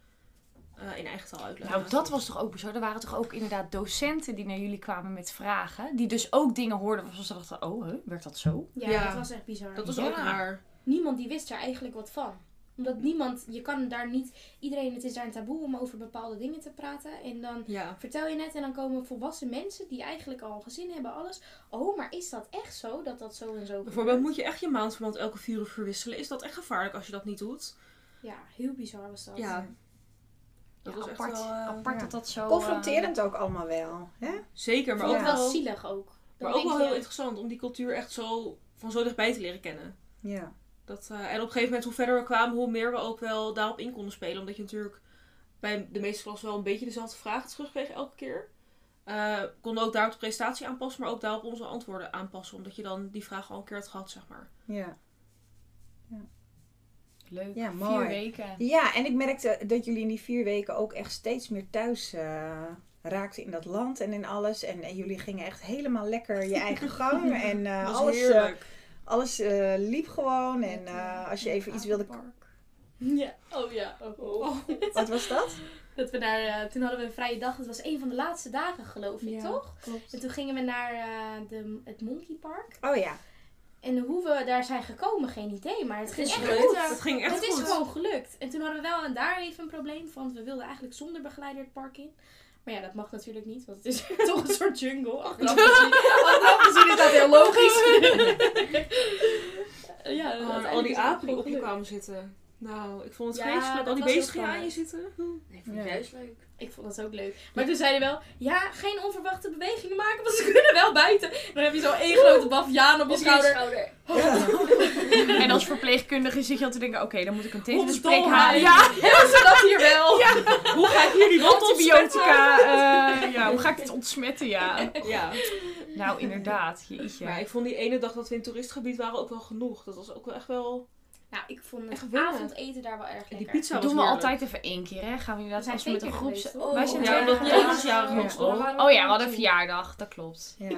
B: eh, in eigen taal uitleggen.
G: Nou, dat was toch ook bizar. Er waren toch ook inderdaad docenten die naar jullie kwamen met vragen. Die dus ook dingen hoorden waarvan ze dachten, oh, hè, werkt dat zo?
D: Ja,
B: Ja.
D: dat was echt bizar.
B: Dat was
G: Ja.
B: ook raar.
D: Niemand die wist er eigenlijk wat van. Omdat niemand, je kan daar niet, iedereen, het is daar een taboe om over bepaalde dingen te praten. En dan
B: Ja.
D: vertel je net en dan komen volwassen mensen die eigenlijk al een gezin hebben, alles. Oh, maar is dat echt zo dat dat zo en zo
B: Bijvoorbeeld
D: gebeurt?
B: moet je echt je maandverband elke vier uur verwisselen. Is dat echt gevaarlijk als je dat niet doet?
D: Ja, heel bizar was dat.
B: Ja. Dat
G: Ja,
B: was
G: apart.
B: echt wel... eh,
G: apart
A: ja.
G: dat dat zo... eh,
A: Confronterend ook allemaal wel. Hè?
B: Zeker, maar
A: Ja.
B: ook
D: Vond ik wel
B: wel,
D: zielig ook. Dan
B: maar ook
D: denk
B: wel
D: je,
B: heel interessant om die cultuur echt zo van zo dichtbij te leren kennen.
A: Ja.
B: Dat, eh, en op een gegeven moment, hoe verder we kwamen, hoe meer we ook wel daarop in konden spelen. Omdat je natuurlijk bij de meeste klas wel een beetje dezelfde vragen terugkreeg elke keer. Eh konden ook daarop de presentatie aanpassen, maar ook daarop onze antwoorden aanpassen. Omdat je dan die vraag al een keer had gehad, zeg maar.
A: Ja.
G: eh, Leuk.
A: Ja,
G: Vier
A: mooi.
G: weken.
A: ja, en ik merkte dat jullie in die vier weken ook echt steeds meer thuis eh, raakten in dat land en in alles. En, en jullie gingen echt helemaal lekker je eigen gang. En eh,
B: dat was
A: alles, eh,
B: heerlijk.
A: alles eh, liep gewoon. En
H: Met,
A: eh,
H: eh,
A: als je even iets wilde...
H: Apenpark.
D: Ja, oh ja. Oh, oh.
A: Wat was dat?
D: Dat we daar, eh, toen hadden we een vrije dag, dat was een van de laatste dagen geloof ik,
H: Ja,
D: toch?
H: Klopt.
D: En toen gingen we naar eh, de, het Monkey Park.
A: Oh ja.
D: En hoe we daar zijn gekomen, geen idee. Maar het ging
F: is
D: echt
F: gelukt.
D: goed.
B: Het ging echt
D: het is
B: goed.
D: gewoon gelukt. En toen hadden we wel en daar even een probleem. Want we wilden eigenlijk zonder begeleider het park in. Maar ja, dat mag natuurlijk niet. Want het is toch een soort jungle. Achteraf gezien, achteraf gezien is dat heel logisch. ja,
B: Oh, en
D: uiteindelijk
B: al
D: is
B: die
D: het
B: apen Oh, die
D: gewoon
B: op je
D: gelukt.
B: kwamen zitten. Nou, ik vond het
D: Ja,
B: vreselijk. Al
D: dat
B: die
D: was heel
B: beesten die aan je zitten.
F: Nee, ik vond het
A: Ja.
F: juist leuk.
D: Ik vond dat ook leuk. Maar toen zei hij wel, ja, geen onverwachte bewegingen maken, want ze kunnen wel bijten. Dan heb je zo één grote baviaan op je schouder.
A: Oh.
C: En als verpleegkundige zit je al te denken, oké, dan moet ik een tegen
D: Hondsdol
C: halen.
D: halen.
C: Ja,
D: Hebben ze dat hier wel?
B: Hoe ga ik hier die wand
C: antibiotica. eh, ja, hoe ga ik dit ontsmetten, ja.
B: Ja.
C: Nou, inderdaad,
B: Maar
C: jeetje.
B: ik vond die ene dag dat we in het toeristgebied waren ook wel genoeg. Dat was ook wel echt wel...
D: Nou, ik vond
B: Echt
D: het
B: winnen.
D: avondeten daar wel erg
B: Die
D: lekker.
B: pizza
C: Dat
B: was
C: doen we
B: heerlijk.
C: altijd even één keer, hè? Gaan we inderdaad
D: We
C: als we
D: zijn
C: met een
D: twee
C: groep...
D: keer geweest,
C: zijn-
D: toch?
C: Wij zijn
D: Oh,
B: Ja,
C: twee
B: omdat
C: keer
B: die
C: geweest.
B: jaren
C: Ja.
B: was, toch?
C: Oh ja, we hadden een verjaardag, dat klopt.
A: Ja.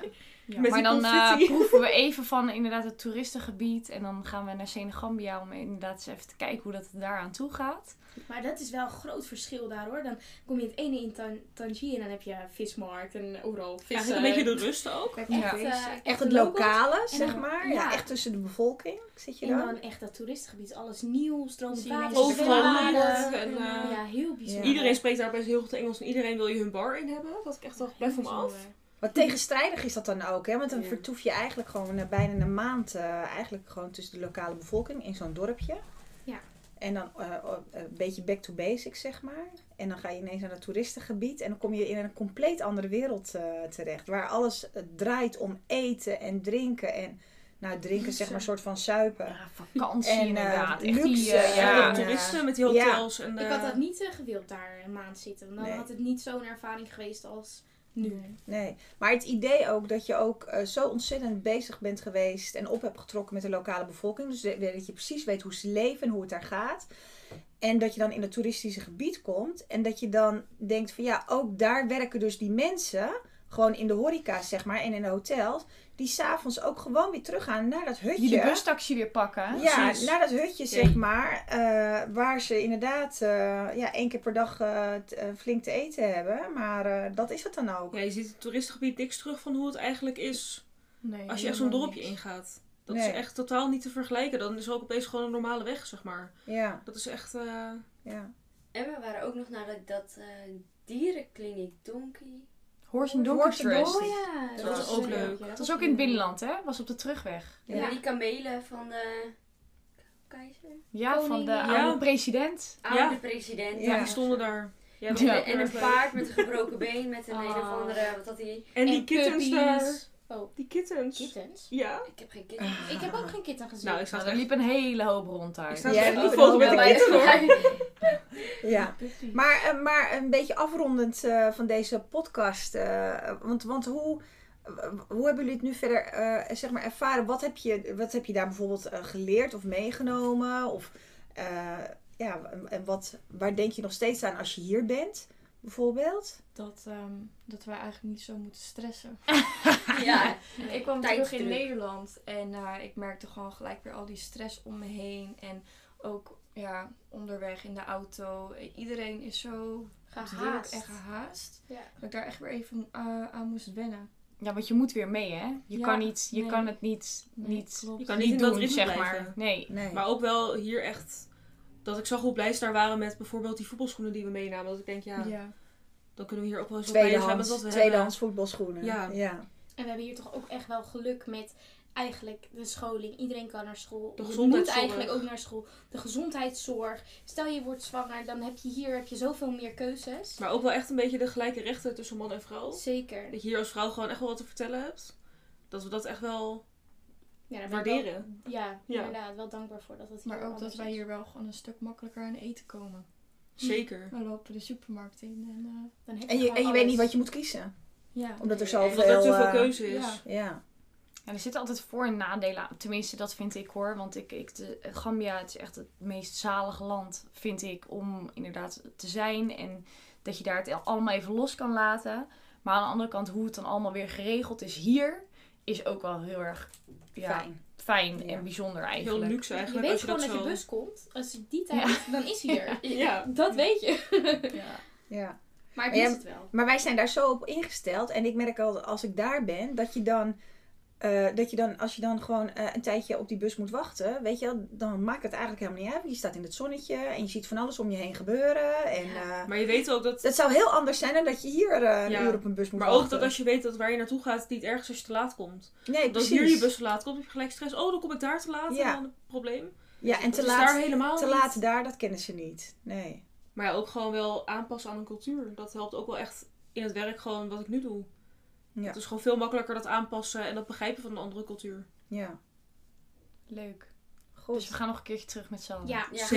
B: Met
C: maar
B: die
C: dan eh,
B: confetti.
C: proeven we even van inderdaad het toeristengebied. En dan gaan we naar Senegambia om inderdaad eens even te kijken hoe dat daar aan toe gaat.
D: Maar dat is wel een groot verschil daar hoor. Dan kom je het ene in Tan- Tangier en dan heb je vismarkt en overal vis.
B: Eigenlijk een beetje de rust ook.
D: Echt,
A: Ja.
D: eh,
A: Echt het
D: gelocals.
A: lokale, zeg
D: dan-
A: maar. Ja.
D: ja.
A: echt tussen de bevolking zit je
D: En
A: dan.
D: dan echt dat toeristengebied, alles nieuw, stromend
J: Zie je
D: water.
J: ineens
B: Overal
D: zwembaden.
B: licht en, eh,
D: Ja, heel bijzonder.
A: Ja.
B: Iedereen spreekt daar best heel goed Engels en iedereen wil je hun bar in hebben. Dat ik echt dacht, blijf van me af.
A: Wat tegenstrijdig is dat dan ook, hè? Want dan
B: Ja.
A: vertoef je eigenlijk gewoon eh, bijna een maand eh, eigenlijk gewoon tussen de lokale bevolking in zo'n dorpje.
D: Ja.
A: En dan eh, eh, een beetje back to basics, zeg maar. En dan ga je ineens naar het toeristengebied en dan kom je in een compleet andere wereld eh, terecht. Waar alles eh, draait om eten en drinken en, nou drinken zeg maar, een soort van suipen.
C: Ja, vakantie
A: En, eh,
C: inderdaad. Echt die,
A: luxe.
C: eh,
B: Ja,
C: ja.
A: en,
B: de
A: eh,
B: toeristen met die hotels. En,
D: Ik
B: eh,
D: had dat niet eh, gewild daar een maand zitten. Want dan
A: Nee.
D: had het niet zo'n ervaring geweest als nu.
A: Nee, maar het idee ook dat je ook eh, zo ontzettend bezig bent geweest en op hebt getrokken met de lokale bevolking. Dus de- dat je precies weet hoe ze leven en hoe het daar gaat. En dat je dan in het toeristische gebied komt en dat je dan denkt van ja, ook daar werken dus die mensen, gewoon in de horeca zeg maar en in de hotels, die s'avonds ook gewoon weer teruggaan naar dat hutje.
C: Die de bustaxi weer pakken.
A: Ja,
B: Precies.
A: naar dat hutje, zeg
B: Oké.
A: maar. eh, waar ze inderdaad eh, ja, één keer per dag eh, t- eh, flink te eten hebben. Maar eh, dat is het dan ook.
B: Ja, je ziet het toeristengebied niks terug van hoe het eigenlijk is
H: Nee,
B: als je echt zo'n dorpje ingaat. Dat
A: Nee.
B: is echt totaal niet te vergelijken. Dan is er ook opeens gewoon een normale weg, zeg maar.
A: Ja,
B: Dat is echt... eh,
A: ja.
F: En we waren ook nog naar dat, dat eh, dierenkliniek Donkey.
C: Horse and Donkey
A: Horse and
C: Trust.
A: Donkey.
D: ja,
B: Dat was ook leuk.
D: ja.
C: Dat was ook in het binnenland, hè? Was op de terugweg.
A: Ja.
F: Oh, Ja. die kamelen van de keizer.
C: Ja,
D: Koning,
C: van de
D: ja.
C: oude president.
F: Oude
B: Ja.
F: president.
A: Ja.
B: Die stonden daar. Ja, dat
F: En,
B: was
C: Ja.
B: ook
F: en een
B: erg leuk.
F: paard met een gebroken been met een
D: Ah.
F: een of andere, wat had hij?
B: En die
D: En
B: kittens daar.
D: puppies. Oh,
B: Die kittens.
D: kittens?
B: Ja.
F: Ik heb geen kinderen.
D: Ik heb ook geen kitten gezien.
B: Nou, ik sta
C: Nou,
B: er
C: er
B: echt...
C: liep een hele hoop rond
B: Ik
C: daar.
B: sta
A: Ja,
B: echt
A: die
B: een
A: liep
B: foto met
A: wel
B: een
A: bij
B: kitten hoor.
A: ja. Maar, eh, maar een beetje afrondend eh, van deze podcast. eh, want, want hoe, eh, hoe hebben jullie het nu verder eh, zeg maar ervaren? Wat heb je, wat heb je daar bijvoorbeeld eh, geleerd of meegenomen? Of eh, ja, en wat, waar denk je nog steeds aan als je hier bent? Bijvoorbeeld?
H: Dat, ehm, dat wij eigenlijk niet zo moeten stressen.
F: Ja.
H: Ik kwam
F: Tijd
H: terug in
F: terug.
H: Nederland en eh, ik merkte gewoon gelijk weer al die stress om me heen. En ook ja, onderweg in de auto. Eh, Iedereen is zo druk
D: Gehaast.
H: en gehaast.
D: Ja.
H: Dat ik daar echt weer even eh, aan moest wennen.
C: Ja, want je moet weer mee, hè? Je,
H: Ja,
C: kan, niet, je
H: nee.
C: kan het niet,
H: Nee,
C: niet,
H: klopt.
B: Je kan
C: niet
B: niet in dat
C: doen,
B: ritme
C: zeg
B: blijven.
C: maar. Nee.
A: Nee.
B: Maar ook wel hier echt... Dat ik zag hoe blij ze daar waren met bijvoorbeeld die voetbalschoenen die we meenamen. Dat ik denk, ja,
H: Ja.
B: dan kunnen we hier ook wel eens wat blij zijn met
A: tweedehands,
B: wat we
A: tweedehands voetbalschoenen.
B: Ja.
A: ja.
D: En we hebben hier toch ook echt wel geluk met eigenlijk de scholing. Iedereen kan naar school.
B: De
D: je moet
B: gezondheidszorg.
D: eigenlijk ook naar school. De gezondheidszorg. Stel je wordt zwanger, dan heb je hier heb je zoveel meer keuzes.
B: Maar ook wel echt een beetje de gelijke rechten tussen man en vrouw.
D: Zeker.
B: Dat je hier als vrouw gewoon echt wel wat te vertellen hebt. Dat we dat echt wel
D: Ja, daar ben ik wel-
B: waarderen.
D: ja,
B: Ja.
D: inderdaad. Wel dankbaar voor dat dat hier
H: Maar ook dat
D: anders
H: wij
D: is.
H: hier wel gewoon een stuk makkelijker aan eten komen.
B: Zeker.
H: We lopen de supermarkt in en eh,
D: Dan heb
A: En, je, en je
D: gewoon
A: weet niet
D: alles.
A: wat je moet kiezen.
H: ja.
A: Omdat er
B: Of
A: zoveel...
B: dat er te veel
A: eh,
B: keuze is.
H: ja.
A: Ja.
C: Ja, er zitten altijd voor- en nadelen aan. Tenminste, dat vind ik hoor. Want ik, ik, de, Gambia het is echt het meest zalige land, vind ik, om inderdaad te zijn. En dat je daar het allemaal even los kan laten. Maar aan de andere kant, hoe het dan allemaal weer geregeld is hier, is ook wel heel erg ja, fijn.
A: Fijn. Ja.
C: en bijzonder
B: Heel
C: eigenlijk.
B: luxe
D: Je
B: eigenlijk.
D: weet
B: als je
D: gewoon dat
B: zo...
D: je bus komt. Als je die tijd, dan is hij er.
B: Ja.
D: Dat weet je.
H: Ja.
A: Ja.
D: Maar ik
A: Maar jij-
D: mis het wel.
A: Maar wij zijn daar zo op ingesteld. En ik merk al als ik daar ben, dat je dan. eh, dat je dan, als je dan gewoon eh, een tijdje op die bus moet wachten, weet je wel, dan maakt het eigenlijk helemaal niet uit. Want je staat in het zonnetje en je ziet van alles om je heen gebeuren. En eh,
B: Maar je weet ook dat...
A: het zou heel anders zijn dan dat je hier eh, een
B: Ja.
A: uur op een bus moet
B: Maar
A: wachten.
B: ook dat als je weet dat waar je naartoe gaat, het niet ergens als je te laat komt.
A: Nee,
B: Dat als
A: precies.
B: hier je bus te laat komt, heb je gelijk stress. Oh, dan kom ik daar te laat.
A: Ja.
B: En dan een probleem.
A: Ja, en te,
B: Te daar
A: laat,
B: helemaal
A: te
B: niet.
A: laat daar, dat kennen ze niet. Nee.
B: Maar ja, ook gewoon wel aanpassen aan een cultuur. Dat helpt ook wel echt in het werk gewoon wat ik nu doe.
A: Ja.
B: Het is gewoon veel makkelijker dat aanpassen en dat begrijpen van een andere cultuur.
A: Ja.
G: Leuk. Dus we gaan nog een keertje terug met z'n allen.
D: Ja.
F: Ja.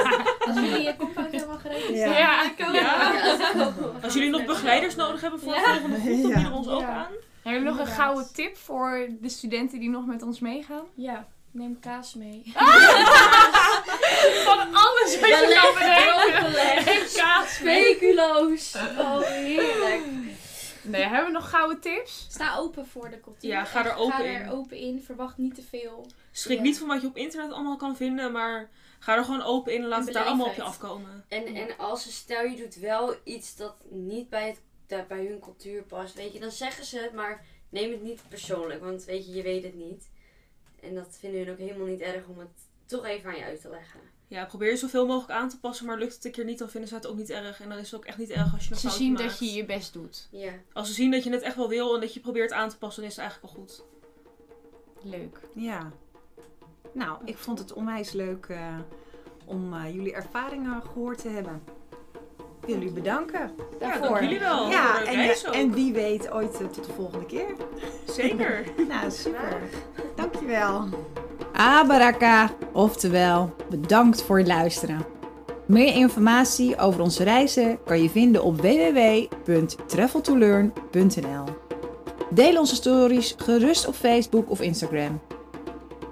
D: Als jullie je compound helemaal geregeld
A: Ja.
G: Ja.
B: Ja.
F: Ja.
B: Als jullie nog begeleiders nodig hebben voor de volgende groep, dan
A: Ja.
B: bieden we ons ook
C: Ja.
B: aan.
G: Hebben we nog een
C: Inderdaad.
G: gouden tip voor de studenten die nog met ons meegaan? Ah!
C: Ja, neem kaas mee.
G: Van alles wat je kan bedenken. Geen kaas.
E: Speculoos. Oh, heerlijk.
G: Nee, hebben we nog gouden tips?
E: Sta open voor de cultuur.
B: Ja, ga er
E: Echt,
B: open
E: ga
B: in.
E: er open in. Verwacht niet te veel.
B: Schrik
E: Ja.
B: niet van wat je op internet allemaal kan vinden, maar ga er gewoon open in en laat
E: En
B: het daar allemaal op je
E: beleefdheid.
B: afkomen.
F: En, en als ze, stel je doet wel iets dat niet bij, het, dat bij hun cultuur past, weet je, dan zeggen ze het, maar neem het niet persoonlijk, want weet je, je weet het niet. En dat vinden hun ook helemaal niet erg om het toch even aan je uit te leggen.
B: Ja, probeer je zoveel mogelijk aan te passen, maar lukt het een keer niet, dan vinden ze het ook niet erg. En dan is het ook echt niet erg als je nog
G: Ze
B: fouten
G: zien
B: maakt.
G: dat je je best doet.
F: Ja.
B: Als ze zien dat je het echt wel wil en dat je probeert aan te passen, dan is het eigenlijk al goed.
G: Leuk.
A: Ja. Nou, ik vond het onwijs leuk eh, om eh, jullie ervaringen gehoord te hebben. Ik wil jullie bedanken.
B: Ja, dank jullie wel.
A: ja,
B: Leuke
A: en,
B: reis
A: eh,
B: Oh, ook.
A: en wie weet ooit eh, tot de volgende keer.
B: Zeker.
A: Nou, super. Dankjewel. Abaraka, oftewel bedankt voor het luisteren. Meer informatie over onze reizen kan je vinden op www.traveltolearn.nl. Deel onze stories gerust op Facebook of Instagram.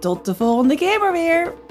A: Tot de volgende keer maar weer.